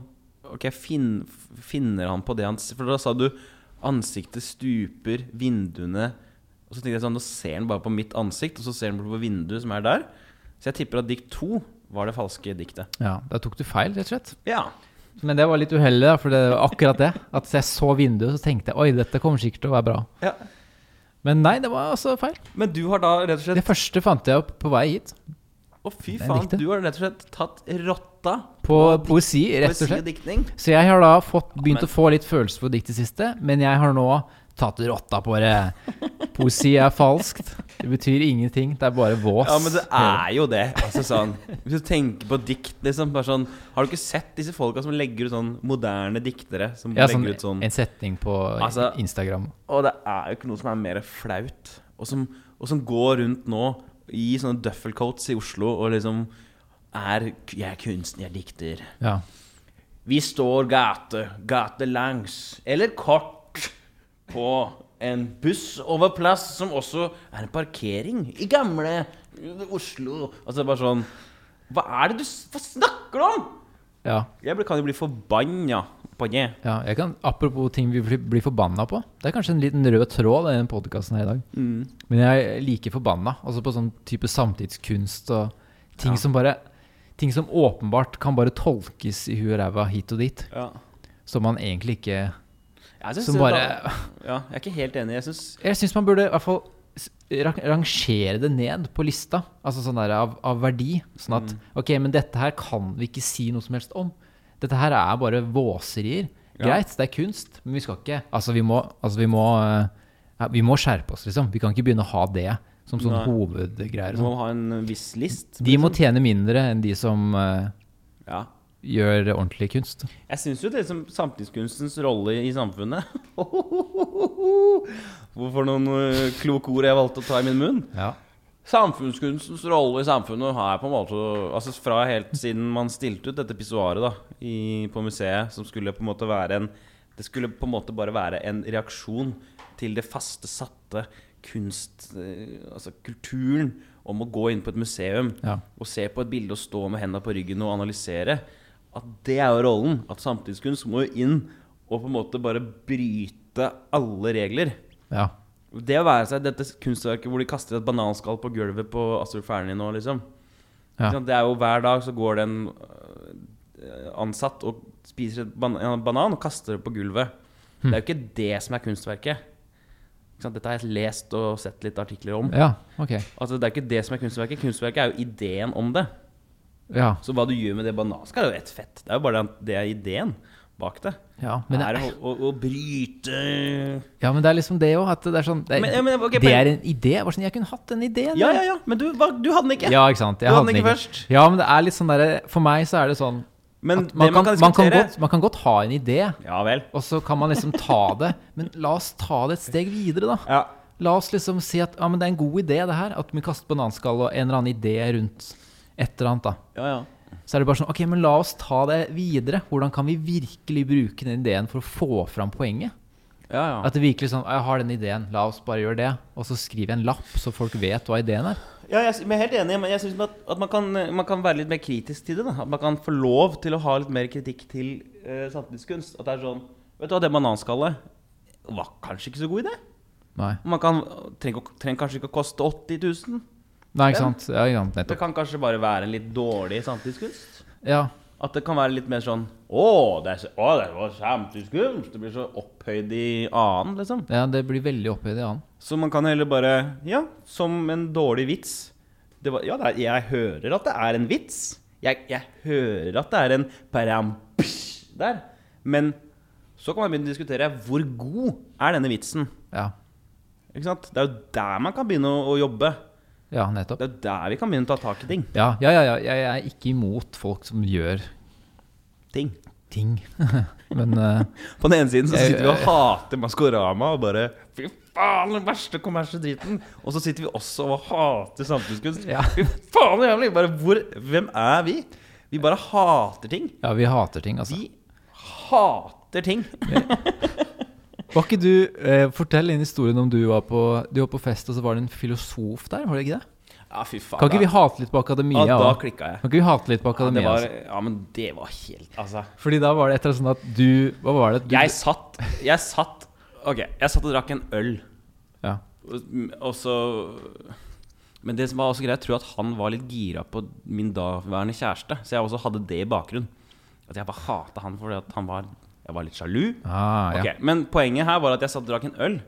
Speaker 1: Ok, finn, finner han på det han s- For da sa du 'ansiktet stuper, vinduene' Og så tenkte jeg sånn, Nå ser han bare på mitt ansikt, og så ser han på vinduet som er der. Så jeg tipper at dikt to var det falske diktet.
Speaker 2: ja. Da tok du feil, rett og slett.
Speaker 1: Ja.
Speaker 2: Men det var litt uheldig, da, for det var akkurat det. At jeg så vinduet, så tenkte jeg oi, dette kommer sikkert til å være bra.
Speaker 1: ja.
Speaker 2: Men nei, det var altså feil.
Speaker 1: Men du har da rett og slett
Speaker 2: Det første fant jeg opp på vei hit.
Speaker 1: Å, fy
Speaker 2: Det er
Speaker 1: faen.
Speaker 2: diktet.
Speaker 1: Du har rett og slett tatt rotta
Speaker 2: På poesi, rett og
Speaker 1: poesi og
Speaker 2: slett.
Speaker 1: diktning.
Speaker 2: Så jeg har da fått, begynt
Speaker 1: men-
Speaker 2: å få litt følelse for dikt i siste, men jeg har nå tatt rotta på det. Poesi er falskt. Det betyr ingenting. Det er bare vås.
Speaker 1: Ja, men det er jo det. Altså sånn Hvis du tenker på dikt, liksom bare sånn, Har du ikke sett disse folka som legger ut sånn moderne diktere? Som
Speaker 2: ja, sånn,
Speaker 1: legger ut sånn
Speaker 2: En setning på
Speaker 1: Altså-
Speaker 2: Instagram.
Speaker 1: Og det er jo ikke noe som er mer flaut. Og som, og som går rundt nå i sånne duffelcoats i Oslo og liksom er Jeg er kunstner, jeg er dikter.
Speaker 2: Ja.
Speaker 1: Vi står gate, gate langs, eller kort, på en buss over plass, som også er en parkering i gamle Oslo. Altså bare sånn Hva er det du s- Hva snakker du om?!
Speaker 2: ja.
Speaker 1: Jeg blir- kan jo bli forbanna på det.
Speaker 2: Ja, jeg kan, Apropos ting vi blir, blir forbanna på. Det er kanskje en liten rød tråd i denne podkasten her i dag.
Speaker 1: Mm.
Speaker 2: Men jeg liker forbanna. Altså på sånn type samtidskunst og ting som bare Ting som åpenbart kan bare tolkes i huet og ræva hit og dit.
Speaker 1: Ja.
Speaker 2: Som man egentlig ikke
Speaker 1: Jeg synes
Speaker 2: Som
Speaker 1: det
Speaker 2: bare
Speaker 1: da- Ja, jeg er ikke helt enig. Jeg syns
Speaker 2: Jeg syns man burde i hvert fall s- ra- rangere det ned på lista. Altså sånn der av, av verdi. Sånn at
Speaker 1: Mm.
Speaker 2: ok, men dette her kan vi ikke si noe som helst om. Dette her er bare våserier.
Speaker 1: Ja.
Speaker 2: Greit, det er kunst, men vi skal ikke Altså, vi må, altså, vi må, eh, ja, vi må skjerpe oss, liksom. Vi kan ikke begynne å ha det som sånn
Speaker 1: Nei.
Speaker 2: hovedgreier.
Speaker 1: du må
Speaker 2: Sånn.
Speaker 1: ha en viss list. liksom.
Speaker 2: De må tjene mindre enn de som eh,
Speaker 1: Ja.
Speaker 2: gjør ordentlig kunst.
Speaker 1: Jeg syns jo det er liksom samtidskunstens rolle i samfunnet Hvorfor noen eh, kloke ord jeg valgte å ta i min munn? Samfunnskunstens rolle i samfunnet har jeg på en måte Altså fra helt siden man stilte ut dette pissoaret da i, på museet, som skulle på en måte være en Det skulle på en måte bare være en reaksjon til det faste satte kunst... eh, Altså kulturen om å gå inn på et museum
Speaker 2: Ja.
Speaker 1: og se på et bilde og stå med hendene på ryggen og analysere. At det er jo rollen. At samtidskunst må jo inn og på en måte bare bryte alle regler.
Speaker 2: ja.
Speaker 1: Det å være seg i dette kunstverket hvor de kaster et bananskall på gulvet på Astrup Fearnley nå, liksom.
Speaker 2: Ja.
Speaker 1: Ikke sant? Det er jo hver dag så går det en øh, ansatt og spiser et ban en banan og kaster det på gulvet.
Speaker 2: Hm.
Speaker 1: Det er jo ikke det som er kunstverket. Ikke sant? Dette har jeg lest og sett litt artikler om.
Speaker 2: Ja, ok.
Speaker 1: Altså, det er ikke det som er kunstverket. Kunstverket er jo ideen om det.
Speaker 2: Ja.
Speaker 1: Så hva du gjør med det bananskall, er jo ett fett. Det er jo bare den- det er ideen bak det.
Speaker 2: ja. Men det
Speaker 1: er å, å, å bryte
Speaker 2: Ja, men det er liksom det òg. At det er sånn Det, er-
Speaker 1: Men- ja, men, ok,
Speaker 2: det
Speaker 1: poeng.
Speaker 2: er en idé. Bare sånn, jeg kunne hatt den ideen.
Speaker 1: Ja,
Speaker 2: jeg.
Speaker 1: ja, ja. Men du, hva, du hadde den ikke.
Speaker 2: Ja, ikke sant. Jeg
Speaker 1: Du hadde
Speaker 2: hadde
Speaker 1: den ikke først.
Speaker 2: Ja, men det er litt sånn derre For meg så er det sånn
Speaker 1: Men
Speaker 2: at man,
Speaker 1: det man kan
Speaker 2: man, kan
Speaker 1: diskutere
Speaker 2: godt, man kan godt ha en idé,
Speaker 1: Ja vel.
Speaker 2: og så kan man liksom ta det. Men la oss ta det et steg videre, da.
Speaker 1: Ja.
Speaker 2: La oss liksom si at ja, men det er en god idé, det her. At vi kaster bananskall og en eller annen idé rundt et eller annet, da.
Speaker 1: ja, ja.
Speaker 2: Så er det bare sånn Ok, men la oss ta det videre. Hvordan kan vi virkelig bruke den ideen for å få fram poenget?
Speaker 1: ja, ja.
Speaker 2: At det virkelig sånn Jeg har den ideen, la oss bare gjøre det. Og så skriver jeg en lapp, så folk vet hva ideen er.
Speaker 1: ja jeg, men jeg er helt enig, men jeg syns at, at man, kan, eh, man kan være litt mer kritisk til det. da At man kan få lov til å ha litt mer kritikk til eh, samtidskunst. At det er sånn Vet du hva, det bananskallet var kanskje ikke så god idé?
Speaker 2: Nei,
Speaker 1: Man kan, trenger, ikke å- trenger kanskje ikke å koste 80 000.
Speaker 2: Nei ikke sant? Ja, ikke sant,
Speaker 1: Det
Speaker 2: nettopp.
Speaker 1: kan kanskje bare være en litt dårlig samtidskunst?
Speaker 2: Ja.
Speaker 1: At det kan være litt mer sånn Å, det, er så, å, det var kjempeskummelt! Det blir så opphøyd i annen, liksom.
Speaker 2: Ja, det blir veldig opphøyd i annen.
Speaker 1: Så man kan heller bare Ja, som en dårlig vits. Det var, ja, det er, jeg hører at det er en vits. Jeg, jeg hører at det er en param psh, der. Men så kan man begynne å diskutere hvor god er denne vitsen.
Speaker 2: Ja.
Speaker 1: Ikke sant? Det er jo der man kan begynne å, å jobbe.
Speaker 2: ja, nettopp.
Speaker 1: Det er jo der vi kan begynne å ta tak i ting.
Speaker 2: Ja, ja, ja, ja. Jeg er ikke imot folk som gjør
Speaker 1: ting.
Speaker 2: ting. Men eh,
Speaker 1: På den ene siden så
Speaker 2: Jeg-
Speaker 1: sitter vi og hater Maskorama og bare Fy faen, den verste kommersielle driten. Og så sitter vi også og hater samtidskunst.
Speaker 2: Ja.
Speaker 1: Fy faen, så jævlig. Bare hvor Hvem er vi? Vi bare hater ting.
Speaker 2: ja, vi hater ting, altså.
Speaker 1: Vi hater ting.
Speaker 2: Var ikke du, eh, Fortell en historie om du var, på, du var på fest, og så var det en filosof der? var det ikke det?
Speaker 1: Ja, fy faen.
Speaker 2: Kan ikke
Speaker 1: da-
Speaker 2: vi hate litt på akademia?
Speaker 1: Ja, da
Speaker 2: også?
Speaker 1: klikka jeg.
Speaker 2: Kan ikke vi hate litt på
Speaker 1: Ja, det
Speaker 2: akademia?
Speaker 1: var,
Speaker 2: altså?
Speaker 1: ja, men det var helt Altså.
Speaker 2: Fordi da var det etter sånn at du Hva var det? Du,
Speaker 1: Jeg satt Jeg satt Ok, jeg satt og drakk en øl.
Speaker 2: ja.
Speaker 1: Og og så Men det som var også greit, jeg tror at han var litt gira på min daværende kjæreste. Så jeg også hadde det i bakgrunnen. At jeg bare hata han fordi at han var Jeg var litt sjalu.
Speaker 2: Ah, ja.
Speaker 1: Ok, Men poenget her var at jeg satt og drakk en øl.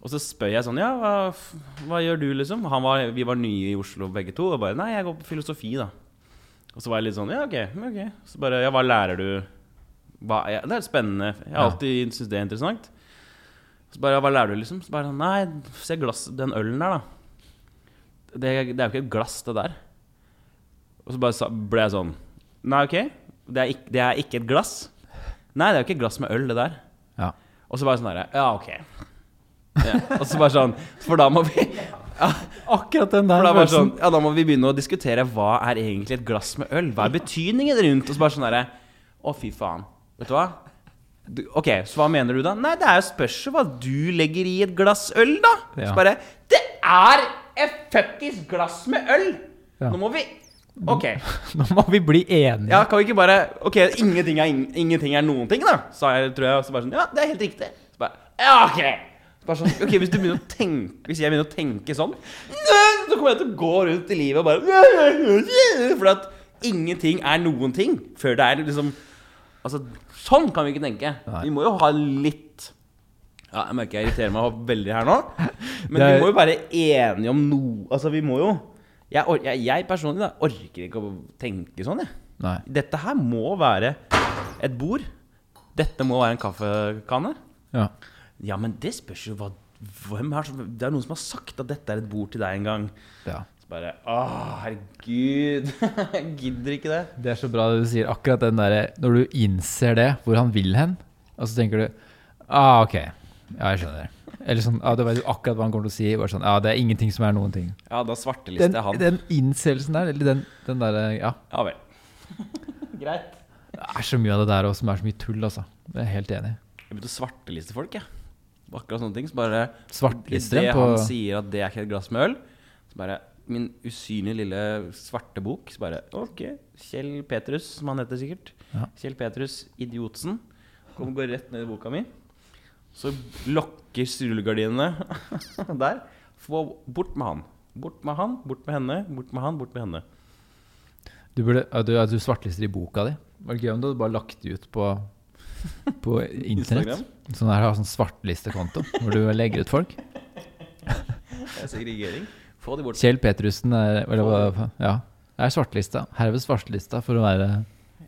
Speaker 1: Og så spør jeg sånn Ja, hva, f- hva gjør du, liksom? Han var, vi var nye i Oslo begge to. Og bare Nei, jeg går på filosofi, da. Og så var jeg litt sånn Ja, ok. men ok Så bare Ja, hva lærer du? Hva, ja, det er spennende. Jeg har
Speaker 2: Ja.
Speaker 1: alltid syntes det er interessant. Så bare Ja, hva lærer du, liksom? Så bare Nei, se glass, den ølen der, da. Det, det er jo ikke et glass, det der. Og så bare sa- ble jeg sånn Nei, ok. Det er, ikke, det er ikke et glass. Nei, det er jo ikke et glass med øl, det der.
Speaker 2: Ja.
Speaker 1: Og så bare sånn derre Ja, ok. Ja. Og så bare sånn For da må vi ja,
Speaker 2: Akkurat den der
Speaker 1: for da, bare sånn,
Speaker 2: følelsen.
Speaker 1: ja, da må vi begynne å diskutere hva er egentlig et glass med øl? Hva er betydningen rundt? Og så bare sånn derre Å, fy faen. Vet du hva? Du, ok, så hva mener du da? Nei, det er jo spørsmål hva du legger i et glass øl, da.
Speaker 2: Ja.
Speaker 1: Så bare Det er et fuckings glass med øl!
Speaker 2: Ja.
Speaker 1: Nå må vi Ok.
Speaker 2: Nå må vi bli enige.
Speaker 1: sånn- Ja, kan vi ikke bare Ok, ingenting er, ing- ingenting er noen ting, da, sa jeg, tror jeg. Og så bare sånn Ja, det er helt riktig. Så bare Ja, ok. Så bare sånn, ok, Hvis du begynner å tenke Hvis jeg begynner å tenke sånn, så kommer jeg til å gå rundt i livet og bare For at ingenting er noen ting før det er liksom Altså, sånn kan vi ikke tenke.
Speaker 2: Nei.
Speaker 1: Vi må jo ha litt Ja, jeg merker jeg irriterer meg veldig her nå, men
Speaker 2: Det er-
Speaker 1: vi må jo være enige om noe Altså, vi må jo jeg, or- jeg, jeg personlig da, orker ikke å tenke sånn, jeg.
Speaker 2: Nei.
Speaker 1: Dette her må være et bord. Dette må være en kaffekanne.
Speaker 2: Ja.
Speaker 1: Ja, men det spørs jo hva hvem er som, Det er noen som har sagt at dette er et bord til deg en gang.
Speaker 2: ja.
Speaker 1: Så bare Å, herregud. Jeg gidder ikke det.
Speaker 2: Det er så bra det du sier. Akkurat den derre Når du innser det, hvor han vil hen, og så tenker du Ah, ok. Ja, jeg skjønner. Eller sånn ah, Du vet jo akkurat hva han kommer til å si. Bare sånn, ja, Det er ingenting som er noen ting.
Speaker 1: Ja, da svartelister
Speaker 2: Den,
Speaker 1: jeg han.
Speaker 2: den innselgelsen der, eller den, den derre Ja.
Speaker 1: Ja vel. Greit.
Speaker 2: Det er så mye av det der også som er så mye tull, altså. Det er jeg helt enig i.
Speaker 1: Jeg begynte å svarteliste folk, jeg. På Akkurat sånne ting. Så bare
Speaker 2: Svartlister
Speaker 1: Idet
Speaker 2: dem på
Speaker 1: han sier at det er ikke et glass med øl, så bare Min usynlige lille svarte bok, så bare Ok, Kjell Petrus, som han heter sikkert.
Speaker 2: Ja.
Speaker 1: Kjell Petrus Idiotsen. Kom, går rett ned i boka mi. Så lokker rullegardinene der. Få bort med han. Bort med han, bort med henne, bort med han, bort med henne.
Speaker 2: Du, burde, ja, du, ja, du svartlister i boka di. Det var gøy om du hadde bare lagt det ut på, på internett.
Speaker 1: Instagram?
Speaker 2: Sånn der har sånn svartlistekonto hvor du legger ut folk.
Speaker 1: Det er segregering. Få de bort.
Speaker 2: Kjell Petrussen er, eller, hva- ja, er svartlista. Herved svartlista for å være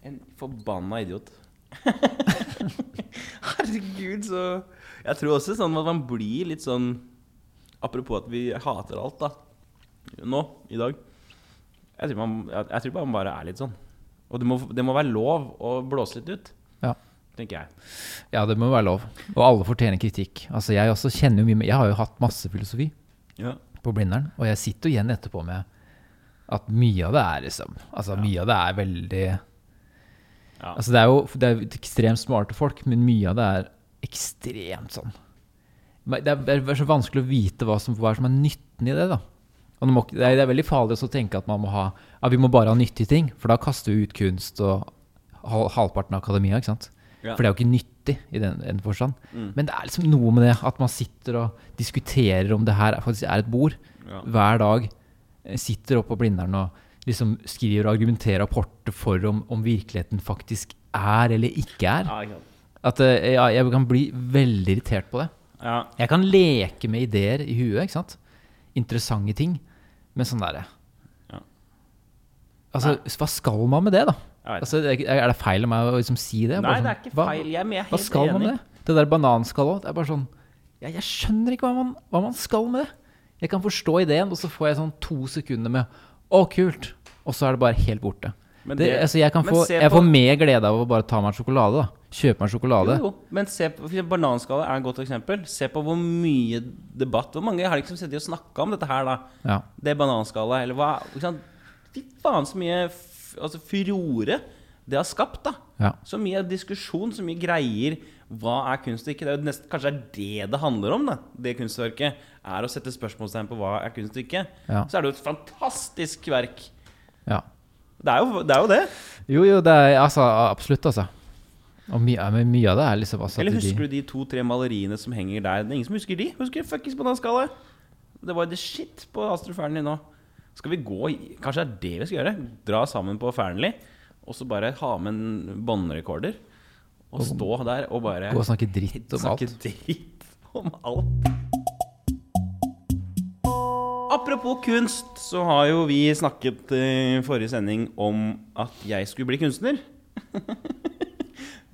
Speaker 1: En forbanna idiot. Herregud, så Jeg tror også sånn at man blir litt sånn Apropos at vi hater alt, da. Nå, i dag. Jeg tror, man, jeg, jeg tror bare man bare er litt sånn. Og det må, det må være lov å blåse litt ut,
Speaker 2: Ja.
Speaker 1: tenker jeg.
Speaker 2: ja, det må være lov. Og alle fortjener kritikk. Altså, jeg også kjenner jo mye Jeg har jo hatt masse filosofi på Blindern, og jeg sitter jo igjen etterpå med at mye av det er liksom Altså, mye av det er veldig
Speaker 1: Ja.
Speaker 2: Altså, det er jo det er jo ekstremt smarte folk, men mye av det er ekstremt sånn Men Det er, det er så vanskelig å vite hva som, hva som er nytten i det, da. Og det, må, ikke- det, er, det er veldig farlig også å tenke at man må ha Ja, vi må bare ha nyttige ting, for da kaster vi ut kunst og hal, halvparten av akademia, ikke sant?
Speaker 1: Ja.
Speaker 2: For det er jo ikke nyttig i den, den forstand.
Speaker 1: Mm.
Speaker 2: Men det er liksom noe med det at man sitter og diskuterer om det her er- faktisk er et bord
Speaker 1: Ja.
Speaker 2: hver dag. eh, Sitter oppe på Blindern og liksom skriver og argumenterer rapporter for om, om virkeligheten faktisk er eller ikke er.
Speaker 1: Ja, ikke sant.
Speaker 2: At eh, ja, jeg kan bli veldig irritert på det.
Speaker 1: Ja.
Speaker 2: Jeg kan leke med ideer i huet, ikke sant? Interessante ting. Men sånn derre
Speaker 1: Ja.
Speaker 2: Altså, hva skal man med det, da?
Speaker 1: Jeg vet
Speaker 2: Altså, er er det feil av meg å liksom si det?
Speaker 1: Nei,
Speaker 2: Bare
Speaker 1: det er
Speaker 2: sånn,
Speaker 1: ikke
Speaker 2: hva-
Speaker 1: feil. Jeg er med, jeg er
Speaker 2: Hva
Speaker 1: helt
Speaker 2: skal man
Speaker 1: enig.
Speaker 2: med det? Det der bananskallet òg. Det er bare sånn jeg, jeg skjønner ikke hva man, hva man skal med det. Jeg kan forstå ideen, og så får jeg sånn to sekunder med Å, kult! Og så er det bare helt borte.
Speaker 1: Men
Speaker 2: det,
Speaker 1: det-
Speaker 2: altså, jeg kan
Speaker 1: men
Speaker 2: få,
Speaker 1: se
Speaker 2: jeg
Speaker 1: på-
Speaker 2: får mer glede av å bare ta meg en sjokolade, da. Kjøpe meg en sjokolade.
Speaker 1: Jo, jo. Men se på, for eksempel bananskala er et godt eksempel. Se på hvor mye debatt Hvor mange har liksom sittet og snakka om dette her, da?
Speaker 2: Ja.
Speaker 1: Det bananskallet, eller hva ikke sant? Fy faen, så mye f altså, furore det har skapt, da.
Speaker 2: Ja.
Speaker 1: Så mye diskusjon, så mye greier. Hva er kunst og ikke? Det er jo nesten, kanskje det er det det handler om, da. Det kunstverket. Er å sette spørsmålstegn på hva er kunst og ikke.
Speaker 2: Ja.
Speaker 1: Så er det jo et fantastisk verk.
Speaker 2: ja.
Speaker 1: Det er jo det. Er jo det.
Speaker 2: Jo, jo, det er altså, absolutt, altså. Og mye, ja, men mye av det er liksom altså,
Speaker 1: Eller husker du de to-tre maleriene som henger der? Det er ingen som husker de. Husker du fuckings bananskalle? Det var the shit på Astrup Fearnley nå. Skal vi gå i Kanskje det er det vi skal gjøre? Dra sammen på Fearnley, og så bare ha med en båndrekorder. Og stå der og bare
Speaker 2: Gå og snakke dritt om
Speaker 1: snakke
Speaker 2: alt.
Speaker 1: dritt om alt. Apropos kunst, så har jo vi snakket eh, i forrige sending om at jeg skulle bli kunstner.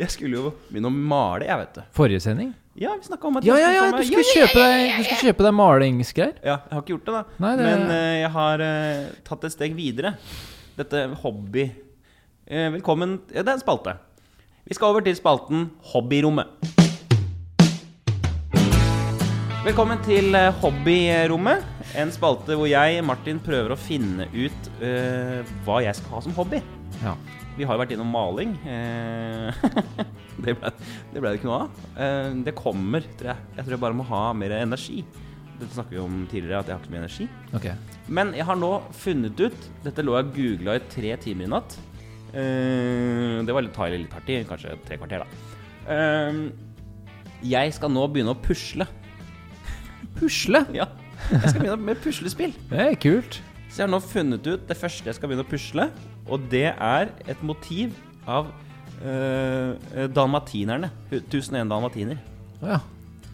Speaker 1: jeg skulle jo begynne å male, jeg, vet du.
Speaker 2: Forrige sending?
Speaker 1: Ja, vi snakka om at
Speaker 2: Ja,
Speaker 1: jeg
Speaker 2: ja, ja!
Speaker 1: ta
Speaker 2: Du
Speaker 1: meg-
Speaker 2: skulle kjøpe deg, du skulle kjøpe deg malingsgreier.
Speaker 1: ja, jeg har ikke gjort det, da.
Speaker 2: Nei, det-
Speaker 1: Men eh, jeg har eh, tatt et steg videre. Dette hobby Eh, Velkommen ja, Det er en spalte. Vi skal over til spalten Hobbyrommet. Velkommen til eh, Hobbyrommet. En spalte hvor jeg, Martin, prøver å finne ut eh, hva jeg skal ha som hobby.
Speaker 2: Ja.
Speaker 1: Vi har jo vært innom maling. Eh, det ble det ble det ikke noe av. Eh, det kommer, tror jeg. Jeg tror jeg bare må ha mer energi. Dette snakker vi om tidligere, at jeg har ikke så mye energi.
Speaker 2: Ok.
Speaker 1: Men jeg har nå funnet ut Dette lå jeg og googla i tre timer i natt. Eh, det var litt tar litt hardt i, kanskje tre kvarter, da. Eh, jeg skal nå begynne å pusle.
Speaker 2: Pusle?
Speaker 1: Ja. Jeg skal begynne med puslespill.
Speaker 2: Det er kult.
Speaker 1: Så jeg har nå funnet ut det første jeg skal begynne å pusle, og det er et motiv av øh, dalmatinerne. 1001 dalmatiner.
Speaker 2: Å ja.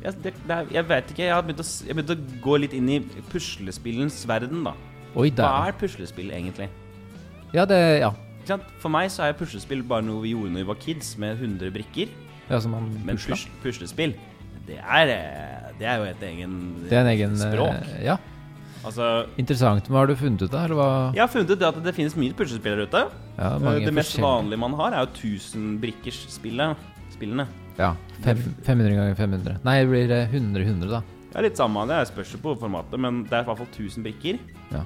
Speaker 1: Jeg, det, det er, jeg vet ikke, jeg har begynt å, s- jeg har begynt å gå litt inn i puslespillens verden, da.
Speaker 2: Oi,
Speaker 1: Hva
Speaker 2: der.
Speaker 1: er puslespill, egentlig?
Speaker 2: Ja, det Ja.
Speaker 1: Ikke sant? For meg så er puslespill bare noe vi gjorde når vi var kids, med 100 brikker.
Speaker 2: Ja, som han
Speaker 1: Men
Speaker 2: pusla.
Speaker 1: pusle, puslespill, det er, eh, det er jo et egen,
Speaker 2: Det er en egen eh,
Speaker 1: språk.
Speaker 2: Ja.
Speaker 1: Altså,
Speaker 2: Interessant. Men har du funnet ut det, eller hva?
Speaker 1: jeg har funnet ut det at det finnes mye puslespill der ute.
Speaker 2: Ja, mange
Speaker 1: Eh, Det mest
Speaker 2: forskjellige-
Speaker 1: vanlige man har, er jo 1000-brikkers-spillene.
Speaker 2: Ja. Fem, 500 ganger 500. Nei, det blir 100-100, da.
Speaker 1: Det er litt samme, det spørs jo på formatet, men det er i hvert fall 1000 brikker.
Speaker 2: Ja.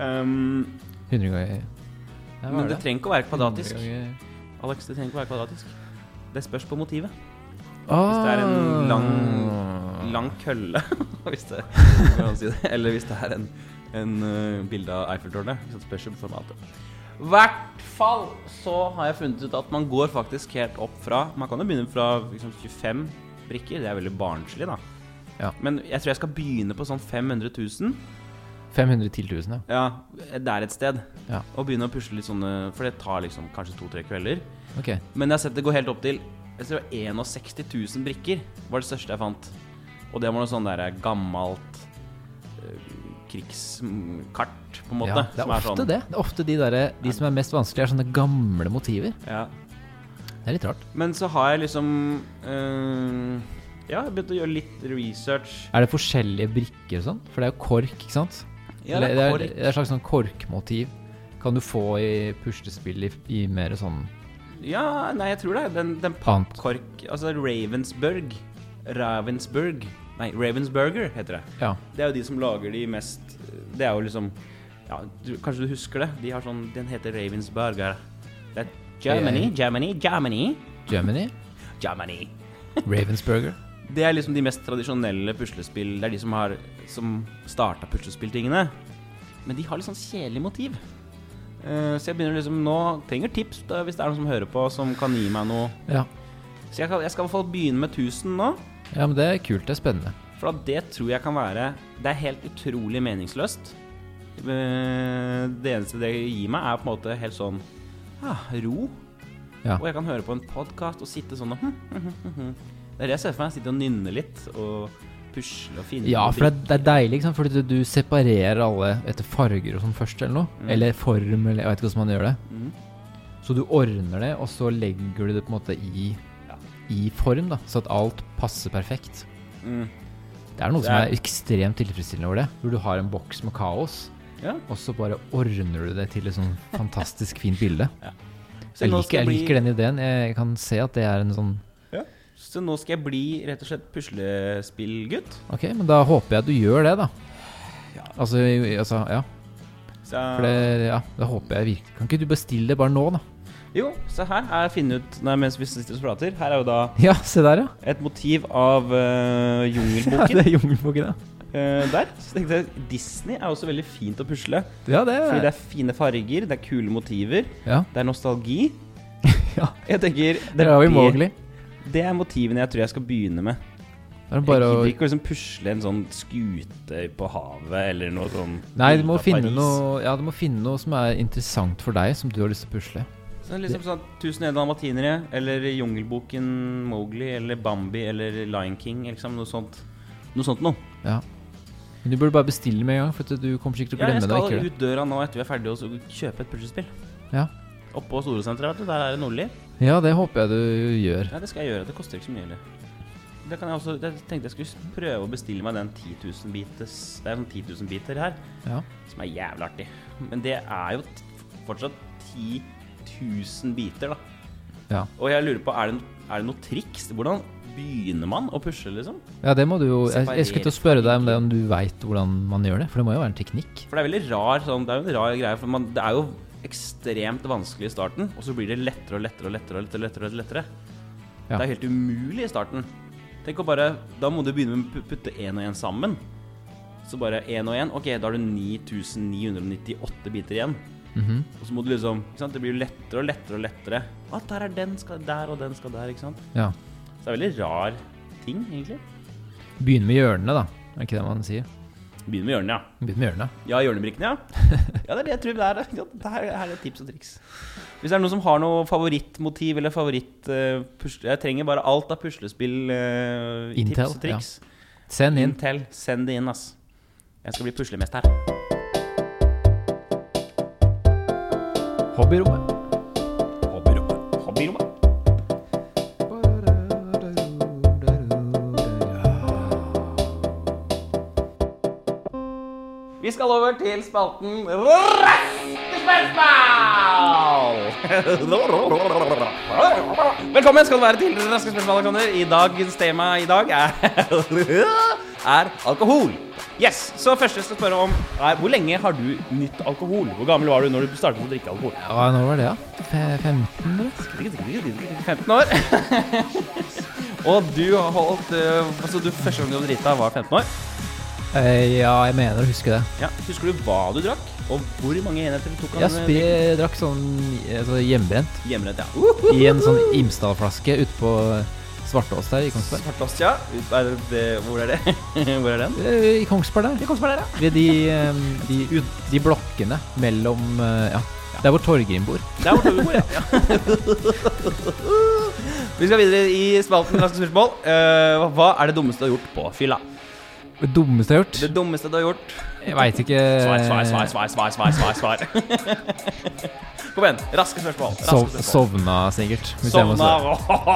Speaker 1: Ehm,
Speaker 2: 100 ganger ja, hva
Speaker 1: men
Speaker 2: er
Speaker 1: det trenger ikke å være kvadratisk.
Speaker 2: 100 ganger-
Speaker 1: Alex, det trenger ikke å være kvadratisk. Det spørs på motivet.
Speaker 2: Ah.
Speaker 1: Hvis det er en lang, lang kølle hvis det, hvordan si det, Eller hvis det er en, en eh, bilde av Eiffeltårnet. ikke sant, Spørs jo på formatet. I hvert fall så har jeg funnet ut at man går faktisk helt opp fra Man kan jo begynne fra liksom, 25 brikker. Det er veldig barnslig, da.
Speaker 2: Ja.
Speaker 1: Men jeg tror jeg skal begynne på sånn 500 000.
Speaker 2: 500 til 1000, ja.
Speaker 1: Ja, der et sted.
Speaker 2: Ja.
Speaker 1: Og begynne å pusle litt sånne For det tar liksom kanskje to-tre kvelder.
Speaker 2: Ok.
Speaker 1: Men jeg har sett det gå helt opp til Jeg tror det var 61 000 brikker var det største jeg fant. Og det var noe sånn der gammelt eh, krigskart, på en måte.
Speaker 2: Ja, det er
Speaker 1: som
Speaker 2: ofte
Speaker 1: sånn-
Speaker 2: det. Det er ofte de, der, eh, de som er mest vanskelige, er sånne gamle motiver.
Speaker 1: Ja.
Speaker 2: Det er litt rart.
Speaker 1: Men så har jeg liksom eh, Ja, jeg begynte å gjøre litt research.
Speaker 2: Er det forskjellige brikker og sånn? For det er jo kork, ikke sant?
Speaker 1: Ja,
Speaker 2: Eller
Speaker 1: det er
Speaker 2: Det er, det er et slags sånn korkmotiv. Kan du få i puslespill i, i mer sånn
Speaker 1: Ja, nei, jeg tror det. Den, den
Speaker 2: Annet.
Speaker 1: pappkork Altså Ravensburg. Ravensburg. Nei, Ravensburger heter det.
Speaker 2: Ja.
Speaker 1: Det er jo de som lager de mest Det er jo liksom ja, du, Kanskje du husker det? De har sånn Den heter Ravensburger. Det er Germany, Germany, Germany.
Speaker 2: Germany?
Speaker 1: Germany.
Speaker 2: Ravensburger?
Speaker 1: Det er liksom de mest tradisjonelle puslespill. Det er de som har Som starta puslespilltingene. Men de har litt sånn kjedelig motiv. Eh, så jeg begynner liksom nå Trenger tips da, hvis det er noen som hører på, som kan gi meg noe.
Speaker 2: Ja.
Speaker 1: Så jeg, kan, jeg skal i hvert fall begynne med 1000 nå.
Speaker 2: ja, men det er kult. Det er spennende.
Speaker 1: For at det tror jeg kan være Det er helt utrolig meningsløst. Eh, Det eneste det gir meg, er på en måte helt sånn ah, ro.
Speaker 2: Ja.
Speaker 1: Og jeg kan høre på en podkast og sitte sånn og hm, hm, hm, hm. Det er det jeg ser for meg. Sitte og nynne litt og pusle og finne
Speaker 2: Ja,
Speaker 1: noe
Speaker 2: for
Speaker 1: dritt.
Speaker 2: det, det er deilig, ikke sant? fordi du, du separerer alle etter farger og sånn først, eller noe. Eller form, eller jeg vet ikke hvordan man gjør det.
Speaker 1: Mm.
Speaker 2: Så du ordner det, og så legger du det på en måte i,
Speaker 1: Ja.
Speaker 2: i form, da. Så at alt passer perfekt.
Speaker 1: Mm.
Speaker 2: Det er noe
Speaker 1: Det
Speaker 2: som
Speaker 1: er-
Speaker 2: er ekstremt tilfredsstillende over det. Hvor du har en boks med kaos,
Speaker 1: Ja.
Speaker 2: og så bare ordner du det til et sånn fantastisk fint bilde.
Speaker 1: Så
Speaker 2: Jeg
Speaker 1: nå
Speaker 2: liker,
Speaker 1: skal
Speaker 2: jeg
Speaker 1: bli-
Speaker 2: liker den ideen. Jeg kan se at det er en sånn
Speaker 1: Så nå skal jeg bli rett og slett puslespillgutt.
Speaker 2: Ok, men da håper jeg at du gjør det, da.
Speaker 1: Ja.
Speaker 2: Altså, i- altså ja.
Speaker 1: Så,
Speaker 2: For det, ja, det håper jeg virkelig. Kan ikke du bestille det bare nå, da?
Speaker 1: Jo, se her er finne ut Nei, mens vi sitter og prater. Her er jo da
Speaker 2: Ja, se der, ja.
Speaker 1: et motiv av eh,
Speaker 2: ja
Speaker 1: Jungelboken
Speaker 2: det er jungelboken, ja.
Speaker 1: eh, der. Så tenkte jeg Disney er også veldig fint å pusle.
Speaker 2: Ja, det
Speaker 1: Fordi
Speaker 2: er
Speaker 1: det er fine farger, det er kule motiver,
Speaker 2: Ja,
Speaker 1: det er nostalgi.
Speaker 2: Ja.
Speaker 1: Jeg tenker
Speaker 2: det er jo
Speaker 1: det-
Speaker 2: Mowgli.
Speaker 1: Det er motivene jeg tror jeg skal begynne med.
Speaker 2: Det er
Speaker 1: Jeg
Speaker 2: bare å
Speaker 1: gidder ikke å liksom pusle en sånn skute på havet eller noe sånn
Speaker 2: Nei, du
Speaker 1: bilde
Speaker 2: må
Speaker 1: av
Speaker 2: finne
Speaker 1: Paris.
Speaker 2: noe Ja, du må finne noe som er interessant for deg, som du har lyst til å pusle.
Speaker 1: Så det er liksom sånn 1001 dalmatinere eller Jungelboken Mowgli eller Bambi eller Lion King, liksom noe sånt. Noe sånt noe.
Speaker 2: Ja. Men du burde bare bestille med en gang, for at du kommer sikkert til å
Speaker 1: Ja, jeg
Speaker 2: glemme det.
Speaker 1: skal
Speaker 2: Ikke? det?
Speaker 1: ut døra nå etter vi er ferdige og så kjøpe et puslespill.
Speaker 2: Ja.
Speaker 1: Oppå Storosenteret, vet du. Der er det Nordli.
Speaker 2: ja, det håper jeg du gjør.
Speaker 1: Ja, det skal jeg gjøre. Det koster ikke så mye heller. Det kan jeg også, jeg tenkte jeg skulle prøve å bestille meg den 10 000 bites Det er sånn 10 000 biter her,
Speaker 2: Ja.
Speaker 1: som er jævlig artig. Men det er jo t- fortsatt 10 000 biter, da.
Speaker 2: Ja.
Speaker 1: Og jeg lurer på, er det, er det noe triks? Hvordan begynner man å pusle, liksom?
Speaker 2: ja, det må du jo Jeg, jeg skulle til å spørre
Speaker 1: Separere
Speaker 2: deg om det, om du veit hvordan man gjør det. For det må jo være en teknikk.
Speaker 1: For det er veldig rar sånn, Det er jo en rar greie, for man, det er jo ekstremt vanskelig i starten, og så blir det lettere og lettere og lettere og lettere. og lettere, og lettere.
Speaker 2: Ja.
Speaker 1: Det er helt umulig i starten. Tenk å bare Da må du begynne med å pu- putte én og én sammen. Så bare én og én. Ok, da har du 9998 biter igjen.
Speaker 2: Mhm.
Speaker 1: Og så må du liksom ikke sant? Det blir jo lettere og lettere og lettere. At der er den skal der, og den skal der, ikke sant.
Speaker 2: Ja.
Speaker 1: Så det er veldig rar ting, egentlig.
Speaker 2: Begynne med hjørnene, da. Er ikke det man sier?
Speaker 1: Begynn med hjørnet, ja.
Speaker 2: Begynne med hjørnene.
Speaker 1: Ja, hjørnebrikkene, ja. Ja, det er det jeg tror det er. Ja, det her, her er det tips og triks. Hvis det er noen som har noe favorittmotiv eller favoritt eh, pusle, Jeg trenger bare alt av puslespill, eh, i
Speaker 2: Intel,
Speaker 1: tips og triks.
Speaker 2: Send inn.
Speaker 1: Intel, send det inn, ass. Jeg skal bli puslemester. Mm.
Speaker 2: Hobbyrommet.
Speaker 1: Hobbyrommet. Hobbyrommet. Vi skal over til spalten Raske spørsmål! Velkommen skal du være til Raske spørsmål, Alexander. I dagens tema i dag er, er alkohol. Yes, Så først jeg skal spørre om er, Hvor lenge har du nytt alkohol? Hvor gammel var du når du startet å drikke alkohol?
Speaker 2: Ja, når var det, da? Fe- 15, eller?
Speaker 1: 15 år. Og du har holdt eh, Altså, du første gang du drita, var 15 år.
Speaker 2: Eh, Ja, jeg mener å huske det.
Speaker 1: Ja. Husker du hva du drakk, og hvor mange enheter du tok? av den,
Speaker 2: Jeg
Speaker 1: eh,
Speaker 2: spi, drakk sånn altså, hjemmebrent
Speaker 1: Hjemmebrent, ja. Uhuhu.
Speaker 2: i en sånn Imsdal-flaske ute på eh, Svartås der i Kongsberg.
Speaker 1: Svartås, ja. Er det, det, hvor er det? hvor er den?
Speaker 2: Eh, I Kongsberg der.
Speaker 1: I Kongsberg der, ja.
Speaker 2: Ved de, eh, de, ut- de blokkene mellom eh, Ja, der hvor Torgrim bor.
Speaker 1: Der hvor Tove bor, ja. ja. Vi skal videre i spalten Raske spørsmål. Eh, hva er det dummeste du har gjort på fylla?
Speaker 2: Det dummeste jeg har
Speaker 1: Det
Speaker 2: gjort?
Speaker 1: dummeste du har gjort?
Speaker 2: Jeg veit ikke
Speaker 1: Svar, svar, svar, svar, svar, svar, svar, svar. Kom igjen. Raske spørsmål. Raske
Speaker 2: Sov,
Speaker 1: spørsmål.
Speaker 2: sovna sikkert. hvis jeg må svare.
Speaker 1: Sovna.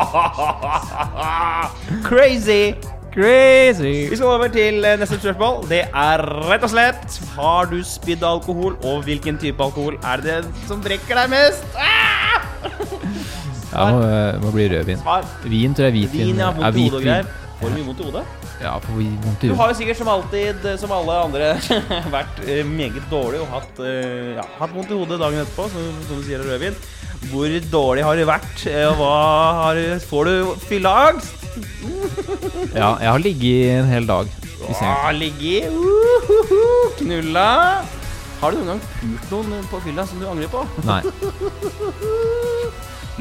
Speaker 1: Crazy. Vi
Speaker 2: Crazy!
Speaker 1: skal over til eh, neste spørsmål. Det er rett og slett Har du spydd alkohol, og hvilken type alkohol er det som brekker deg mest? Ah!
Speaker 2: Ja, eh, må, må bli rødvin.
Speaker 1: Svar.
Speaker 2: Vin tror jeg hvitvin.
Speaker 1: Vin, ja.
Speaker 2: ja,
Speaker 1: Vondt i
Speaker 2: hvit
Speaker 1: hodet og
Speaker 2: vin.
Speaker 1: greier. Får du mye vondt i hodet?
Speaker 2: Ja, for vondt i
Speaker 1: Du
Speaker 2: hodet.
Speaker 1: har jo sikkert som alltid, eh, som alle andre, vært eh, meget dårlig og hatt, eh, ja, hatt vondt i hodet dagen etterpå, som, som du sier av rødvin. Hvor dårlig har du vært, eh, og hva har, du- får du fylleangst?
Speaker 2: Ja, jeg har ligget en hel dag i senga.
Speaker 1: Ah, Ligge, uhuhu, knulla. Har du noen gang pult noen på fylla som du angrer på?
Speaker 2: Nei.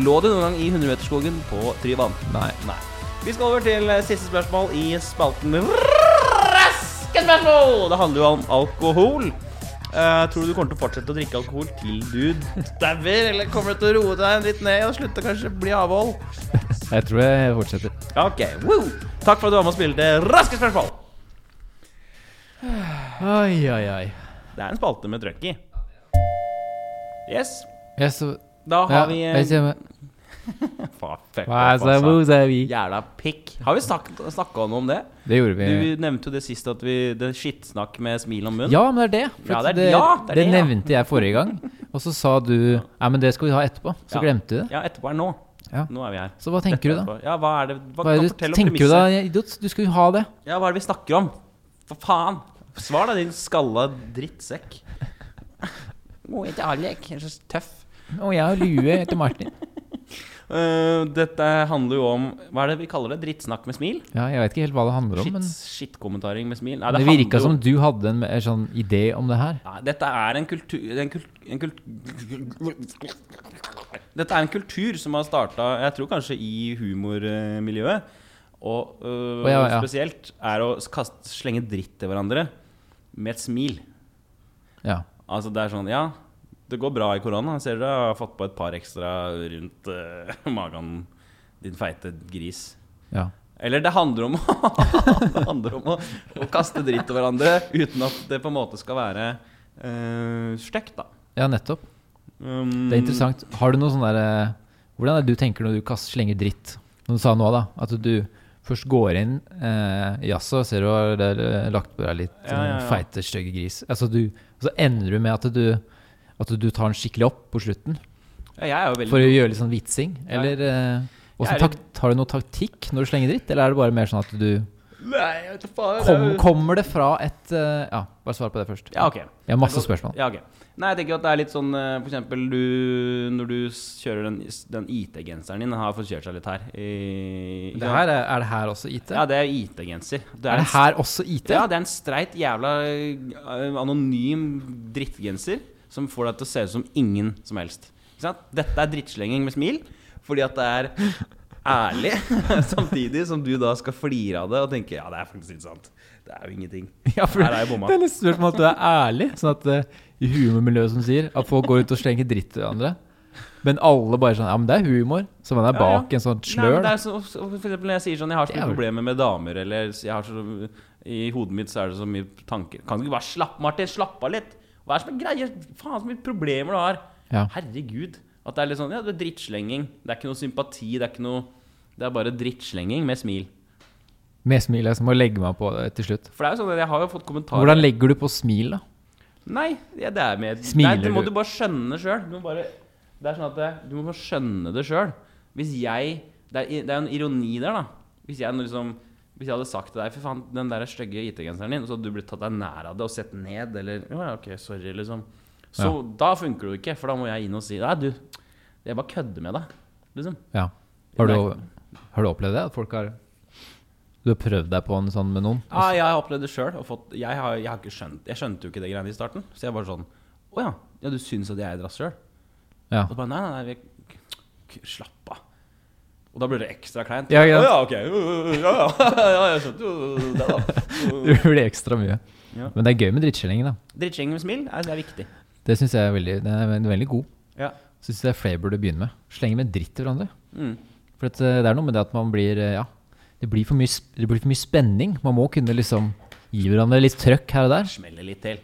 Speaker 1: Lå du noen gang i 100-meterskogen på Tryvann?
Speaker 2: Nei.
Speaker 1: Nei. Vi skal over til eh, siste spørsmål i spalten Raske spørsmål! Det handler jo om alkohol. Eh, tror du du kommer til å fortsette å drikke alkohol til du dauer? Eller kommer du til å roe deg litt ned og slutte kanskje å bli avhold?
Speaker 2: Jeg tror jeg fortsetter.
Speaker 1: Ok, woo! Takk for at du var med og spilte Raske spørsmål!
Speaker 2: Oi, oi, oi.
Speaker 1: Det er en spalte med trøkk i. Yes.
Speaker 2: Jeg så,
Speaker 1: Da
Speaker 2: ja,
Speaker 1: har vi eh,
Speaker 2: jeg kjenner,
Speaker 1: fa- fuck
Speaker 2: hva er
Speaker 1: off,
Speaker 2: så,
Speaker 1: altså.
Speaker 2: hvor er vi?
Speaker 1: Jævla pikk. Har vi snakka noe om det?
Speaker 2: Det gjorde
Speaker 1: Du
Speaker 2: vi.
Speaker 1: nevnte jo det sist at vi Det er skittsnakk med smil om munnen.
Speaker 2: Ja, men det er det. For
Speaker 1: Ja, det er-
Speaker 2: det,
Speaker 1: ja, det er det, ja.
Speaker 2: nevnte jeg forrige gang. Og så sa du Nei, men det skal vi ha etterpå. Så
Speaker 1: Ja.
Speaker 2: glemte du det.
Speaker 1: Ja, etterpå er nå.
Speaker 2: Ja.
Speaker 1: Nå er vi her.
Speaker 2: Så hva tenker du da?
Speaker 1: Etterpå. Ja, hva er det Hva,
Speaker 2: Hva er
Speaker 1: kan
Speaker 2: det
Speaker 1: fortelle
Speaker 2: du
Speaker 1: om
Speaker 2: tenker du da,
Speaker 1: premisset?
Speaker 2: idiot? Du skulle jo ha det.
Speaker 1: Ja, hva er det vi snakker om? For faen! Svar da, din skalla drittsekk. Må ikke Alek, jeg er så tøff.
Speaker 2: Og jeg har lue etter Martin.
Speaker 1: Eh, dette handler jo om Hva er det vi kaller det? Drittsnakk med smil?
Speaker 2: Ja, jeg vet ikke helt hva det handler om,
Speaker 1: Shit,
Speaker 2: men
Speaker 1: Skittkommentaring med smil? Nei,
Speaker 2: det,
Speaker 1: handler
Speaker 2: virka
Speaker 1: jo-
Speaker 2: som du hadde en, en sånn idé om det her.
Speaker 1: Nei, dette er en kultur, en kul- en kul- Dette er en kultur som har starta, jeg tror kanskje i humormiljøet, og øh,
Speaker 2: Å, ja, ja.
Speaker 1: spesielt er å kaste, slenge dritt til hverandre med et smil.
Speaker 2: Ja.
Speaker 1: Altså det er sånn, ja, det går bra i korona. Ser dere har fått på et par ekstra rundt øh, magen, din feite gris.
Speaker 2: ja.
Speaker 1: Eller det handler om, å, det handler om å, å kaste dritt til hverandre uten at det på en måte skal være øh, stygt, da.
Speaker 2: Ja, nettopp.
Speaker 1: Um,
Speaker 2: Det er interessant. Har du noe sånn der eh, Hvordan er det du tenker når du kaster, slenger dritt? Som du sa nå, da. At du først går inn eh, Jaså, ser du har eh, lagt på deg litt
Speaker 1: Ja, ja, ja.
Speaker 2: eh, feite, stygge gris. Altså du, så ender du med at du, at du tar den skikkelig opp på slutten.
Speaker 1: Ja, jeg er jo veldig
Speaker 2: For å gjøre litt sånn vitsing.
Speaker 1: Ja.
Speaker 2: Eller eh, hvordan
Speaker 1: Jeg er-
Speaker 2: tak- Har du noe taktikk når du slenger dritt, eller er det bare mer sånn at du
Speaker 1: Nei, jeg vet ikke faen.
Speaker 2: kom, Kommer det fra et eh, Ja, bare svar på det først.
Speaker 1: Ja, ok.
Speaker 2: Jeg har masse spørsmål.
Speaker 1: Ja, ok. Nei, jeg tenker jo at det er litt sånn eh, For eksempel du, når du s- kjører den, den IT-genseren din, den har fått kjørt seg litt her. I,
Speaker 2: Det her er, er det her også IT?
Speaker 1: Ja, det er IT-genser. Det
Speaker 2: er det
Speaker 1: en s-
Speaker 2: her også IT?
Speaker 1: Ja, det er en streit jævla eh, anonym drittgenser som får deg til å se ut som ingen som helst. Ikke sant? Dette er drittslenging med smil, fordi at det er ærlig, samtidig som du da skal flire av det og tenke ja, det er faktisk ikke sant. Det er jo ingenting.
Speaker 2: Ja, for
Speaker 1: Her er jeg bomma.
Speaker 2: Det er litt større på at du er ærlig. Sånn at eh, i humormiljøet som sier at folk går ut og slenger dritt til hverandre. Men alle bare sånn Ja, men det er humor. Så man
Speaker 1: Ja,
Speaker 2: er
Speaker 1: ja.
Speaker 2: bak en sånn
Speaker 1: Nei, men
Speaker 2: slør.
Speaker 1: det
Speaker 2: da.
Speaker 1: er så, så, for eksempel når jeg sier sånn Jeg har så mye
Speaker 2: Jævlig.
Speaker 1: problemer med damer, eller jeg har så, I hodet mitt så er det så mye tanker. Kan du ikke bare slappe Martin, slappe av litt? Hva er det som er greia? Faen, så mye problemer du har.
Speaker 2: Ja.
Speaker 1: Herregud. At det er litt sånn Ja, det er drittslenging. Det er ikke noe sympati. Det er ikke noe Det er bare drittslenging med smil.
Speaker 2: Med smil. Jeg må legge meg på det til slutt.
Speaker 1: For det er jo sånn at jeg har jo fått kommentarer
Speaker 2: Hvordan legger du på smil, da?
Speaker 1: Nei, ja, det er med
Speaker 2: Smiler
Speaker 1: Nei, det må
Speaker 2: du?
Speaker 1: du bare skjønne sjøl. Du må bare Det er sånn at det- du må bare skjønne det sjøl. Hvis jeg Det er i- det er en ironi der, da. Hvis jeg nå liksom Hvis jeg hadde sagt til deg Fy faen, den der stygge IT-genseren din, og så hadde du blitt tatt deg nær av det og sett ned, eller Ja, ok, sorry, liksom. Så da funker det jo ikke, for da må jeg inn og si Nei, du, jeg bare kødder med deg, liksom.
Speaker 2: Ja. Har du, har du opplevd det? At folk har Du har prøvd deg på en sånn med noen?
Speaker 1: Ja, Ah, jeg har opplevd det sjøl. Jeg, har- jeg, har ikke skjønt- jeg skjønte jo ikke det greiene i starten. Så jeg var sånn Å ja, ja, du syns at jeg er et rasshøl?
Speaker 2: Ja.
Speaker 1: Og så bare, nei, nei, nei, vi, k- slapp av. Og da blir det ekstra kleint.
Speaker 2: Ja, ikke
Speaker 1: Å
Speaker 2: sant?
Speaker 1: ja, ok. Uh, uh, Ja, ja. ja, jeg skjønte jo det, da.
Speaker 2: Det blir ekstra mye.
Speaker 1: Ja.
Speaker 2: Men det er gøy med drittskjellingen, da.
Speaker 1: Drittskjeng med smil, er, det er viktig.
Speaker 2: Det syns jeg er veldig, den er veldig- veldig god.
Speaker 1: Ja.
Speaker 2: Syns det er flere burde begynne med. Slenge med dritt til hverandre.
Speaker 1: Mm.
Speaker 2: For at, eh, det er noe med det at man blir eh, Ja, det blir for mye, sp- det blir for mye spenning. Man må kunne liksom gi hverandre litt trøkk her og der.
Speaker 1: Smeller litt til.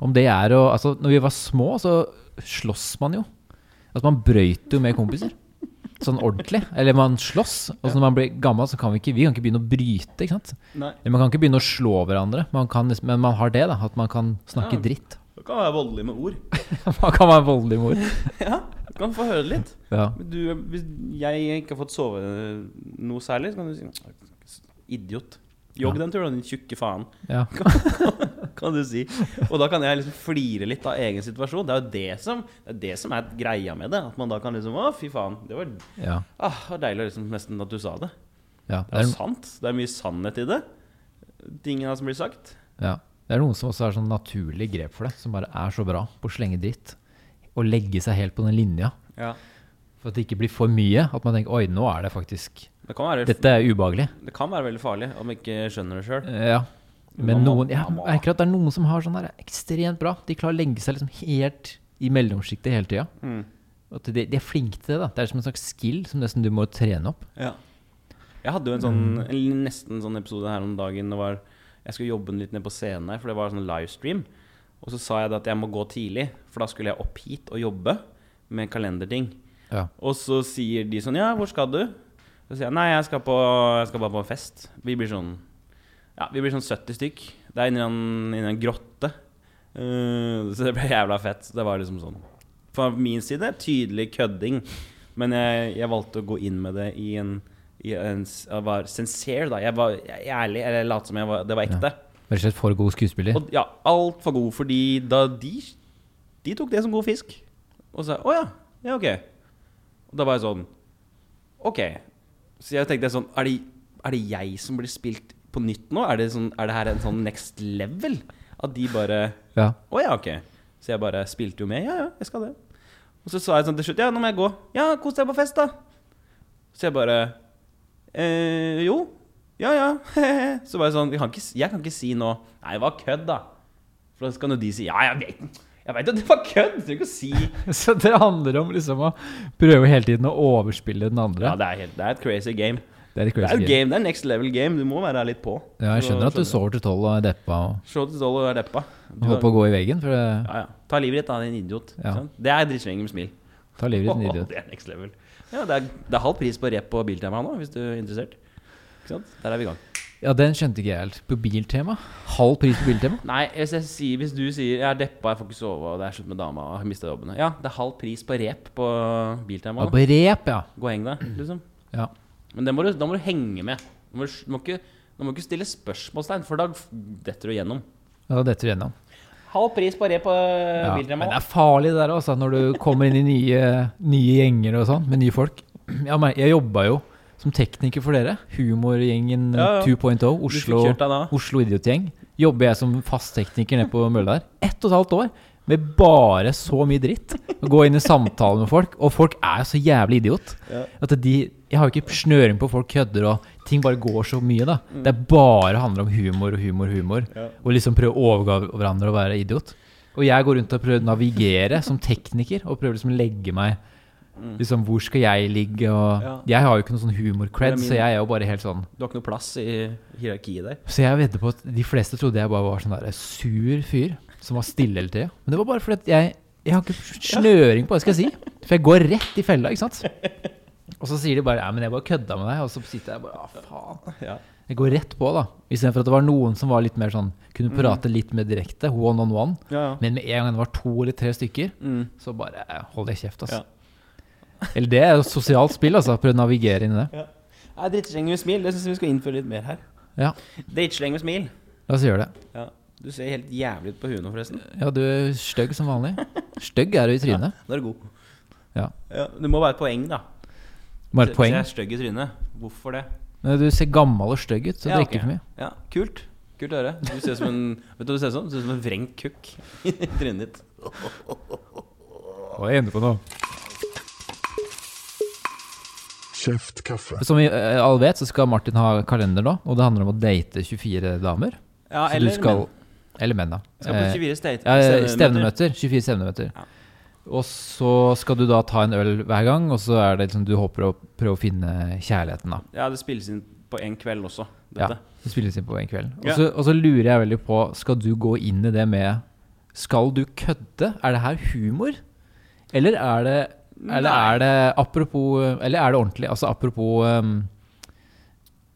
Speaker 2: Om det er å Altså, når vi var små, så sloss man jo. Altså, man brøyt jo med kompiser. Sånn ordentlig. Eller man slåss. Og så når man blir gammel, så kan vi ikke Vi kan ikke begynne å bryte, ikke sant.
Speaker 1: Nei.
Speaker 2: Eller man kan ikke begynne å slå hverandre. Man kan, liksom- men man har det, da. At man kan snakke
Speaker 1: Ja.
Speaker 2: dritt.
Speaker 1: Du kan være voldelig med ord.
Speaker 2: man kan være voldelig mor.
Speaker 1: ja, du kan få høre det litt.
Speaker 2: Ja.
Speaker 1: Men Du, hvis jeg ikke har fått sove noe særlig, så kan du si Idiot. Jogg den turen, din tjukke faen,
Speaker 2: ja.
Speaker 1: kan du si. Og da kan jeg liksom flire litt av egen situasjon. Det er jo det som, det er, det som er greia med det. At man da kan liksom Å, fy faen. Det var
Speaker 2: ja.
Speaker 1: Ah, det var deilig å liksom, nesten at du sa det.
Speaker 2: ja.
Speaker 1: Det er jo sant. Det er mye sannhet i det. Tingene som blir sagt.
Speaker 2: Ja. Det er noen som også er sånn naturlig grep for det, som bare er så bra på å slenge dritt. Og legge seg helt på den linja,
Speaker 1: Ja.
Speaker 2: for at det ikke blir for mye. At man tenker oi, nå er det faktisk
Speaker 1: Det kan være,
Speaker 2: Dette er ubehagelig.
Speaker 1: det kan være veldig farlig om man ikke skjønner det sjøl.
Speaker 2: Eh, Ja. Men
Speaker 1: Mamma-
Speaker 2: noen, jeg
Speaker 1: mamma.
Speaker 2: merker at det er noen som har sånn der ekstremt bra. De klarer å legge seg liksom helt i mellomsjiktet hele tida.
Speaker 1: Mm.
Speaker 2: At de, de er flinke til det. da Det er som en slags skill som nesten du må trene opp.
Speaker 1: Ja. Jeg hadde jo en sånn, en nesten sånn episode her om dagen. Det var, jeg skulle jobbe litt ned på scenen her, for det var sånn livestream. Og så sa jeg det at jeg må gå tidlig, for da skulle jeg opp hit og jobbe med kalenderting.
Speaker 2: Ja.
Speaker 1: Og så sier de sånn Ja, hvor skal du? Så sier jeg nei, jeg skal, på, jeg skal bare på en fest. Vi blir sånn Ja, vi blir sånn 70 stykk. Det er inni en, inni en grotte. Eh, så det ble jævla fett. Så det var liksom sånn Fra min side tydelig kødding. Men jeg, jeg valgte å gå inn med det i en, i en s- Jeg var sincere, da. Jeg var jeg, ærlig. Eller jeg lot som jeg var, det var ekte.
Speaker 2: Rett og slett for god skuespiller.
Speaker 1: Og ja, altfor god, fordi da de De tok det som god fisk. Og sa å ja, ja ok. Og da var jeg sånn Ok. Så jeg tenkte sånn Er det, er det jeg som blir spilt på nytt nå? Er det, sånn, er det her en sånn next level? At de bare
Speaker 2: Ja.
Speaker 1: Å ja, ok. Så jeg bare spilte jo med. Ja, ja, jeg skal det. Og så sa jeg sånn til slutt Ja, nå må jeg gå. Ja, kos deg på fest, da. Så jeg bare eh, Jo. Ja, ja. så var jeg sånn jeg kan, ikke, jeg kan ikke si nå Nei, det var kødd, da. For da kan jo de si Ja, jeg vet jeg vet jo det var kødd! Du trenger ikke å si Ja,
Speaker 2: Så det handler om liksom å prøve hele tiden å overspille den andre.
Speaker 1: det er, helt, det er et crazy game.
Speaker 2: det er litt
Speaker 1: Det er
Speaker 2: crazy.
Speaker 1: jo game, det er next level game. Du må være litt på.
Speaker 2: Ja, jeg skjønner at du sover til tolv og er deppa og
Speaker 1: Show til Zollo er deppa. Du
Speaker 2: holder på å gå i veggen, for det
Speaker 1: Ja, ja. Ta livet ditt, da, din idiot.
Speaker 2: Ja.
Speaker 1: Sant? Det er drittslenging med smil.
Speaker 2: tar livet ditt en
Speaker 1: Åh,
Speaker 2: idiot.
Speaker 1: Det er next level. Ja, det er, det er halv pris på rep på Biltema nå, hvis du er interessert. Ikke sant? Der er vi i gang.
Speaker 2: Ja, den skjønte ikke jeg helt. På biltema? Halv pris på biltema?
Speaker 1: Nei, hvis, jeg sier, hvis du sier 'jeg er deppa, jeg får ikke sove', og det er slutt med dama, og jeg har mista jobben Ja, det er halv pris på rep på Biltema.
Speaker 2: Ja,
Speaker 1: nå.
Speaker 2: på rep, ja.
Speaker 1: Gå og heng deg, liksom.
Speaker 2: ja.
Speaker 1: Men det må du, da må du henge med. Du må, du må, ikke, du må ikke stille spørsmålstegn, for da f- detter du gjennom.
Speaker 2: Ja, Da detter du gjennom.
Speaker 1: Halv pris på rep på eh,
Speaker 2: Ja. Men
Speaker 1: Biltema.
Speaker 2: det er farlig det der også, når du kommer inn i nye, nye gjenger og sånn, med nye folk. Jeg, mer- jeg jobba jo som tekniker for dere. Humorgjengen
Speaker 1: Ja, ja.
Speaker 2: 2.0,
Speaker 1: Du fikk
Speaker 2: Oslo,
Speaker 1: kjørt deg da.
Speaker 2: Oslo Idiotgjeng. Jobber jeg som fasttekniker nede på mølla der. Ett og et halvt år med bare så mye dritt. Å Gå inn i samtaler med folk, og folk er jo så jævlig idiot.
Speaker 1: Ja.
Speaker 2: At de, jeg har jo ikke snøring på folk kødder, og ting bare går så mye, da. Det er bare handler om humor og humor, humor.
Speaker 1: Mm. Ja.
Speaker 2: Og liksom prøve å overgå hverandre og være idiot. Og jeg går rundt og prøver å navigere som tekniker, og prøver liksom å legge meg Liksom, hvor skal jeg ligge? Og
Speaker 1: Mm. Ja.
Speaker 2: Jeg har jo ikke noen sånn
Speaker 1: Det
Speaker 2: humor-cred,
Speaker 1: er min-
Speaker 2: så jeg er jo bare helt sånn
Speaker 1: Du har ikke noe plass i hierarkiet der.
Speaker 2: så jeg vedder på at de fleste trodde jeg bare var sånn der sur fyr som var stille hele tida. Men det var bare fordi at jeg, jeg har ikke snøring på hva jeg skal si. For jeg går rett i fella, ikke sant. Og så sier de bare 'ja, men jeg bare kødda med deg', og så sitter jeg bare 'ja, faen'.
Speaker 1: Ja.
Speaker 2: Jeg går rett på, da. Istedenfor at det var noen som var litt mer sånn kunne prate litt mer direkte, one on one.
Speaker 1: Ja, ja.
Speaker 2: Men med en gang det var to eller tre stykker,
Speaker 1: Mm.
Speaker 2: så bare eh, holder jeg kjeft, altså. Eller det er jo sosialt spill, altså. Prøve å navigere inn i det.
Speaker 1: Ja. Nei, Drittsleng med smil, det syns jeg vi skal innføre litt mer her.
Speaker 2: Ja,
Speaker 1: Drittsleng med smil.
Speaker 2: la oss gjøre det.
Speaker 1: Ja. Du ser helt jævlig ut på huet nå, forresten.
Speaker 2: Ja, du er stygg som vanlig. Stygg er du i trynet.
Speaker 1: Da er du god.
Speaker 2: Ja.
Speaker 1: Ja, det må være et poeng, da.
Speaker 2: Bare et
Speaker 1: Hvis
Speaker 2: poeng.
Speaker 1: jeg er stygg i trynet, hvorfor det?
Speaker 2: Nei, Du ser gammel og stygg ut, så
Speaker 1: Ja,
Speaker 2: drikker
Speaker 1: ok.
Speaker 2: for mye.
Speaker 1: Ja, kult. Kult å høre. Du ser ut som en Vet du hva du ser ut som? Du ser ut som en vrengt kukk i trynet ditt.
Speaker 2: Hva er jeg inne på nå?
Speaker 3: Kjeftkaffe.
Speaker 2: Som vi eh, alle vet, så skal Martin ha kalender nå, og det handler om å date 24 damer.
Speaker 1: Ja,
Speaker 2: Så
Speaker 1: eller
Speaker 2: du skal,
Speaker 1: menn.
Speaker 2: Eller menn, da.
Speaker 1: Skal på 24 ste-
Speaker 2: Eh,
Speaker 1: stevnemøter.
Speaker 2: ja, stevnemøter. 24 stevnemøter.
Speaker 1: Ja.
Speaker 2: Og så skal du da ta en øl hver gang, og så er det liksom du håper å prøve å finne kjærligheten, da.
Speaker 1: Ja, det spilles inn på en kveld også,
Speaker 2: Ja,
Speaker 1: dette.
Speaker 2: det spilles inn på en kveld. Og
Speaker 1: Ja.
Speaker 2: så, og så lurer jeg veldig på, skal du gå inn i det med Skal du kødde? Er det her humor? Eller er det, eller
Speaker 1: Nei.
Speaker 2: er det apropos Eller er det ordentlig? Altså apropos um,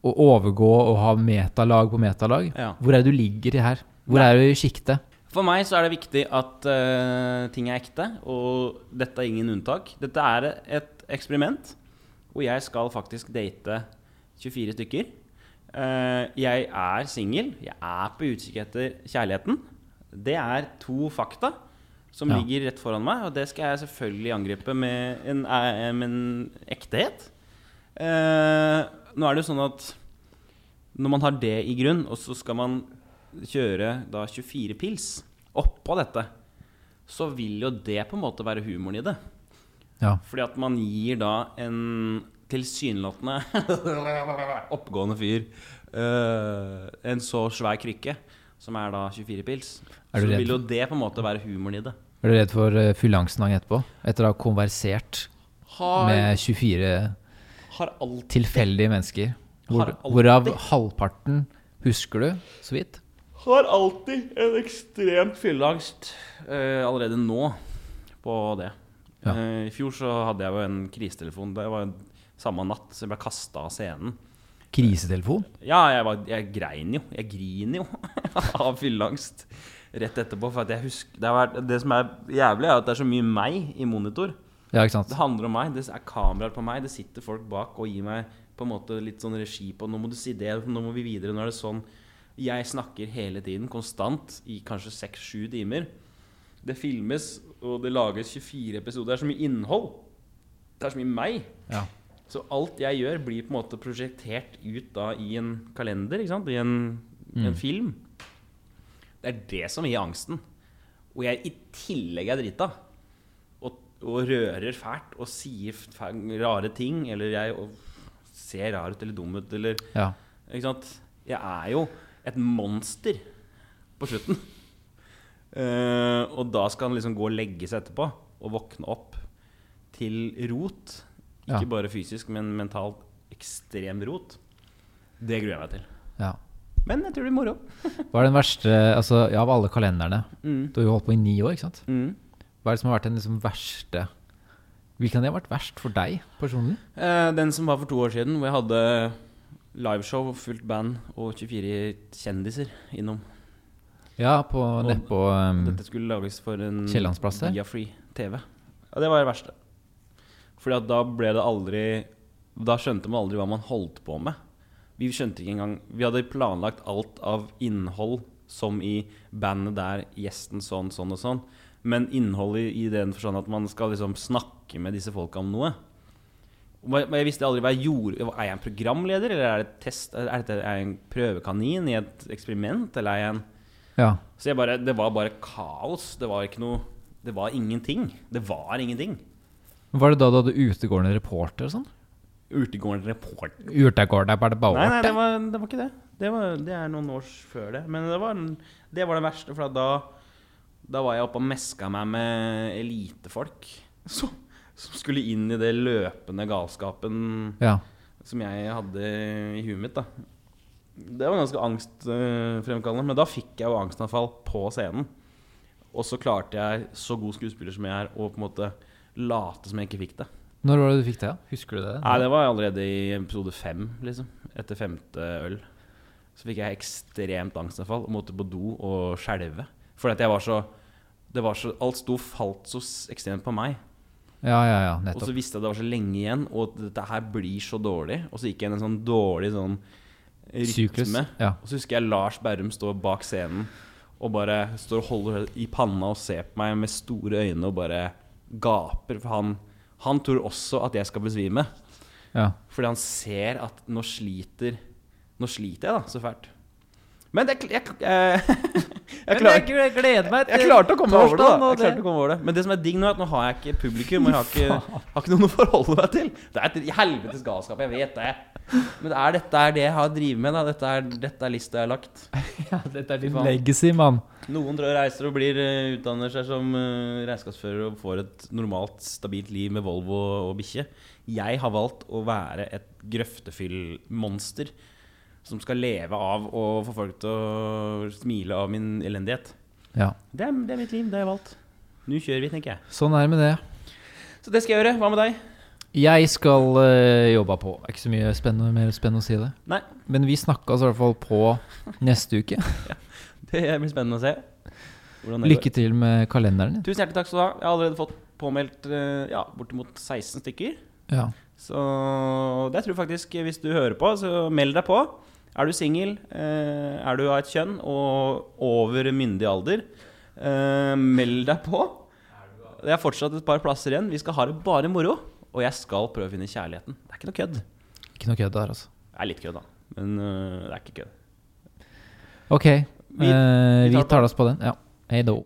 Speaker 2: å overgå og ha metalag på metalag.
Speaker 1: Ja.
Speaker 2: Hvor er det du ligger i her? Hvor er du i sjiktet?
Speaker 1: For meg så er det viktig at eh, ting er ekte, og dette er ingen unntak. Dette er et eksperiment, og jeg skal faktisk date 24 stykker. Eh, jeg er singel. Jeg er på utkikk etter kjærligheten. Det er to fakta som
Speaker 2: Ja.
Speaker 1: ligger rett foran meg, og det skal jeg selvfølgelig angripe med en, eh, med en ektehet. Eh, nå er det jo sånn at når man har det i grunn, og så skal man kjøre da 24 pils oppå dette, så vil jo det på en måte være humoren i det.
Speaker 2: Ja.
Speaker 1: Fordi at man gir da en tilsynelatende oppegående fyr eh, en så svær krykke, som er da 24 pils.
Speaker 2: Er
Speaker 1: Så
Speaker 2: du redd
Speaker 1: vil jo det på en måte være humoren i det.
Speaker 2: Er du redd for eh, fylleangsten han etterpå? Etter å ha konversert
Speaker 1: Har,
Speaker 2: med 24
Speaker 1: har alt
Speaker 2: tilfeldige mennesker, hvor,
Speaker 1: Har alltid-
Speaker 2: hvorav halvparten husker du så vidt?
Speaker 1: Har alltid en ekstremt fylleangst eh, allerede nå på det.
Speaker 2: Ja.
Speaker 1: Eh, I fjor så hadde jeg jo en krisetelefon. Det var samme natt, så jeg ble kasta av scenen.
Speaker 2: Krisetelefon?
Speaker 1: Ja, jeg, var, jeg grein jo. Jeg griner jo av fylleangst rett etterpå. For at jeg husker, det, har vært, det som er jævlig, er at det er så mye meg i monitor.
Speaker 2: Ja, ikke sant?
Speaker 1: Det handler om meg. Det er kameraer på meg. Det sitter folk bak og gir meg på en måte litt sånn regi på Nå må du si det, nå må vi videre. Nå er det sånn. Jeg snakker hele tiden, konstant, i kanskje seks-sju timer. Det filmes, og det lages 24 episoder. Det er så mye innhold. Det er så mye meg.
Speaker 2: Ja.
Speaker 1: Så alt jeg gjør, blir på en måte prosjektert ut da i en kalender, ikke sant? i en, en film. Det er det som gir angsten. Og jeg i tillegg er drita. Og, og rører fælt og sier f- fæ- rare ting. Eller jeg og ser rar ut eller dum ut eller
Speaker 2: ja.
Speaker 1: Ikke sant? Jeg er jo et monster på slutten. Eh, og da skal han liksom gå og legge seg etterpå og våkne opp til rot. Ikke
Speaker 2: Ja.
Speaker 1: bare fysisk, men mentalt ekstrem rot. Det gruer jeg meg til.
Speaker 2: ja.
Speaker 1: Men jeg tror det blir moro.
Speaker 2: Hva er den verste altså, ja, Av alle kalenderne
Speaker 1: Mm.
Speaker 2: Du har jo holdt på i ni år, ikke sant? Hva er det som har vært den liksom verste Hvilken av de har vært verst for deg personlig?
Speaker 1: Eh, den som var for to år siden, hvor jeg hadde liveshow, fullt band og 24 kjendiser innom.
Speaker 2: Ja, på nedpå um,
Speaker 1: Dette skulle lages for en
Speaker 2: Kiellandsplass der?
Speaker 1: via Free TV. Ja, det var det verste. Fordi at da ble det aldri Da skjønte man aldri hva man holdt på med. Vi skjønte ikke engang Vi hadde planlagt alt av innhold som i bandet der, gjesten sånn, sånn og sånn. Men innholdet i den forstand at man skal liksom snakke med disse folka om noe. Men men jeg visste aldri hva jeg gjorde. Er jeg en programleder, eller er, det et test, er, dette- er jeg en prøvekanin i et eksperiment? Eller er jeg en
Speaker 2: Ja,
Speaker 1: så jeg bare, det var bare kaos. Det var ikke noe Det var ingenting. Det var ingenting.
Speaker 2: Men Var det da du hadde utegående reporter og sånn?
Speaker 1: Urtegården Report
Speaker 2: Urtegården er bare
Speaker 1: Nei, nei, det
Speaker 2: bauert
Speaker 1: var, det var ikke det. Det, var, det er noen år før det. Men det var, den- det var det verste, for at da, da var jeg oppe og meska meg med elitefolk som, som skulle inn i det løpende galskapen
Speaker 2: Ja,
Speaker 1: som jeg hadde i huet mitt. da Det var ganske angstfremkallende. Men da fikk jeg jo angstanfall på scenen. Og så klarte jeg, så god skuespiller som jeg er, å på en måte late som jeg ikke fikk det.
Speaker 2: når var det du fikk det? Husker du det?
Speaker 1: Nei, det var allerede i episode fem, liksom. Etter femte øl. Så fikk jeg ekstremt angstanfall og måtte på do og skjelve. Fordi at jeg var så, det var så Alt sto falt så s- ekstremt på meg.
Speaker 2: Ja, ja, ja,
Speaker 1: Og så
Speaker 2: nettopp
Speaker 1: visste jeg det var så lenge igjen, og at dette her blir så dårlig. Og så gikk jeg inn i en sånn dårlig sånn rytme.
Speaker 2: Syklus, ja.
Speaker 1: Og så husker jeg Lars Berrum stå bak scenen og bare står og holder i panna og ser på meg med store øyne og bare gaper. For han, han tror også at jeg skal besvime.
Speaker 2: ja.
Speaker 1: Fordi han ser at nå sliter Nå sliter jeg, da, så fælt. Men det, jeg, jeg, jeg, jeg klarer
Speaker 2: gleder meg
Speaker 1: jeg klarte å komme over det, da. Jeg klarte å komme over det. Men det som er digg nå, er at nå har jeg ikke publikum. Og jeg har ikke, har ikke noen å forholde meg til. Det er et helvetes galskap, jeg vet det. Men er dette er det jeg har drevet med, da. Dette er, dette er lista jeg har lagt.
Speaker 2: ja, Dette er din
Speaker 1: Faen.
Speaker 2: legacy, mann
Speaker 1: Noen drar og reiser og blir, eh, utdanner seg som eh, regnskapsfører og får et normalt, stabilt liv med Volvo og, og bikkje. Jeg har valgt å være et grøftefyllmonster som skal leve av å få folk til å smile av min elendighet.
Speaker 2: Ja,
Speaker 1: Det er, det er mitt liv, det har jeg valgt. Nå kjører vi, tenker jeg.
Speaker 2: sånn er det med det
Speaker 1: Så det skal jeg gjøre. Hva med deg?
Speaker 2: Jeg skal eh, jobbe på. Ikke så mye spennende, mer spennende å si det.
Speaker 1: Nei,
Speaker 2: Men vi snakkes i hvert fall på neste uke.
Speaker 1: det blir spennende å se. Hvordan det går.
Speaker 2: Lykke til med kalenderen din.
Speaker 1: Tusen hjertelig takk skal du ha. Jeg har allerede fått påmeldt eh, ja, bortimot 16 stykker.
Speaker 2: Ja.
Speaker 1: Så det tror jeg faktisk, hvis du hører på, så meld deg på. Er du singel, eh, er du av et kjønn og over myndig alder, eh, meld deg på. Det er fortsatt et par plasser igjen. Vi skal ha det bare moro. Og jeg skal prøve å finne kjærligheten. Det er ikke noe kødd.
Speaker 2: Ikke noe kødd der, altså.
Speaker 1: Det er litt kødd, da. Men eh, det er ikke kødd.
Speaker 2: Ok, eh,
Speaker 1: vi
Speaker 2: vi
Speaker 1: tar
Speaker 2: tar oss på den. Ja. Hei då.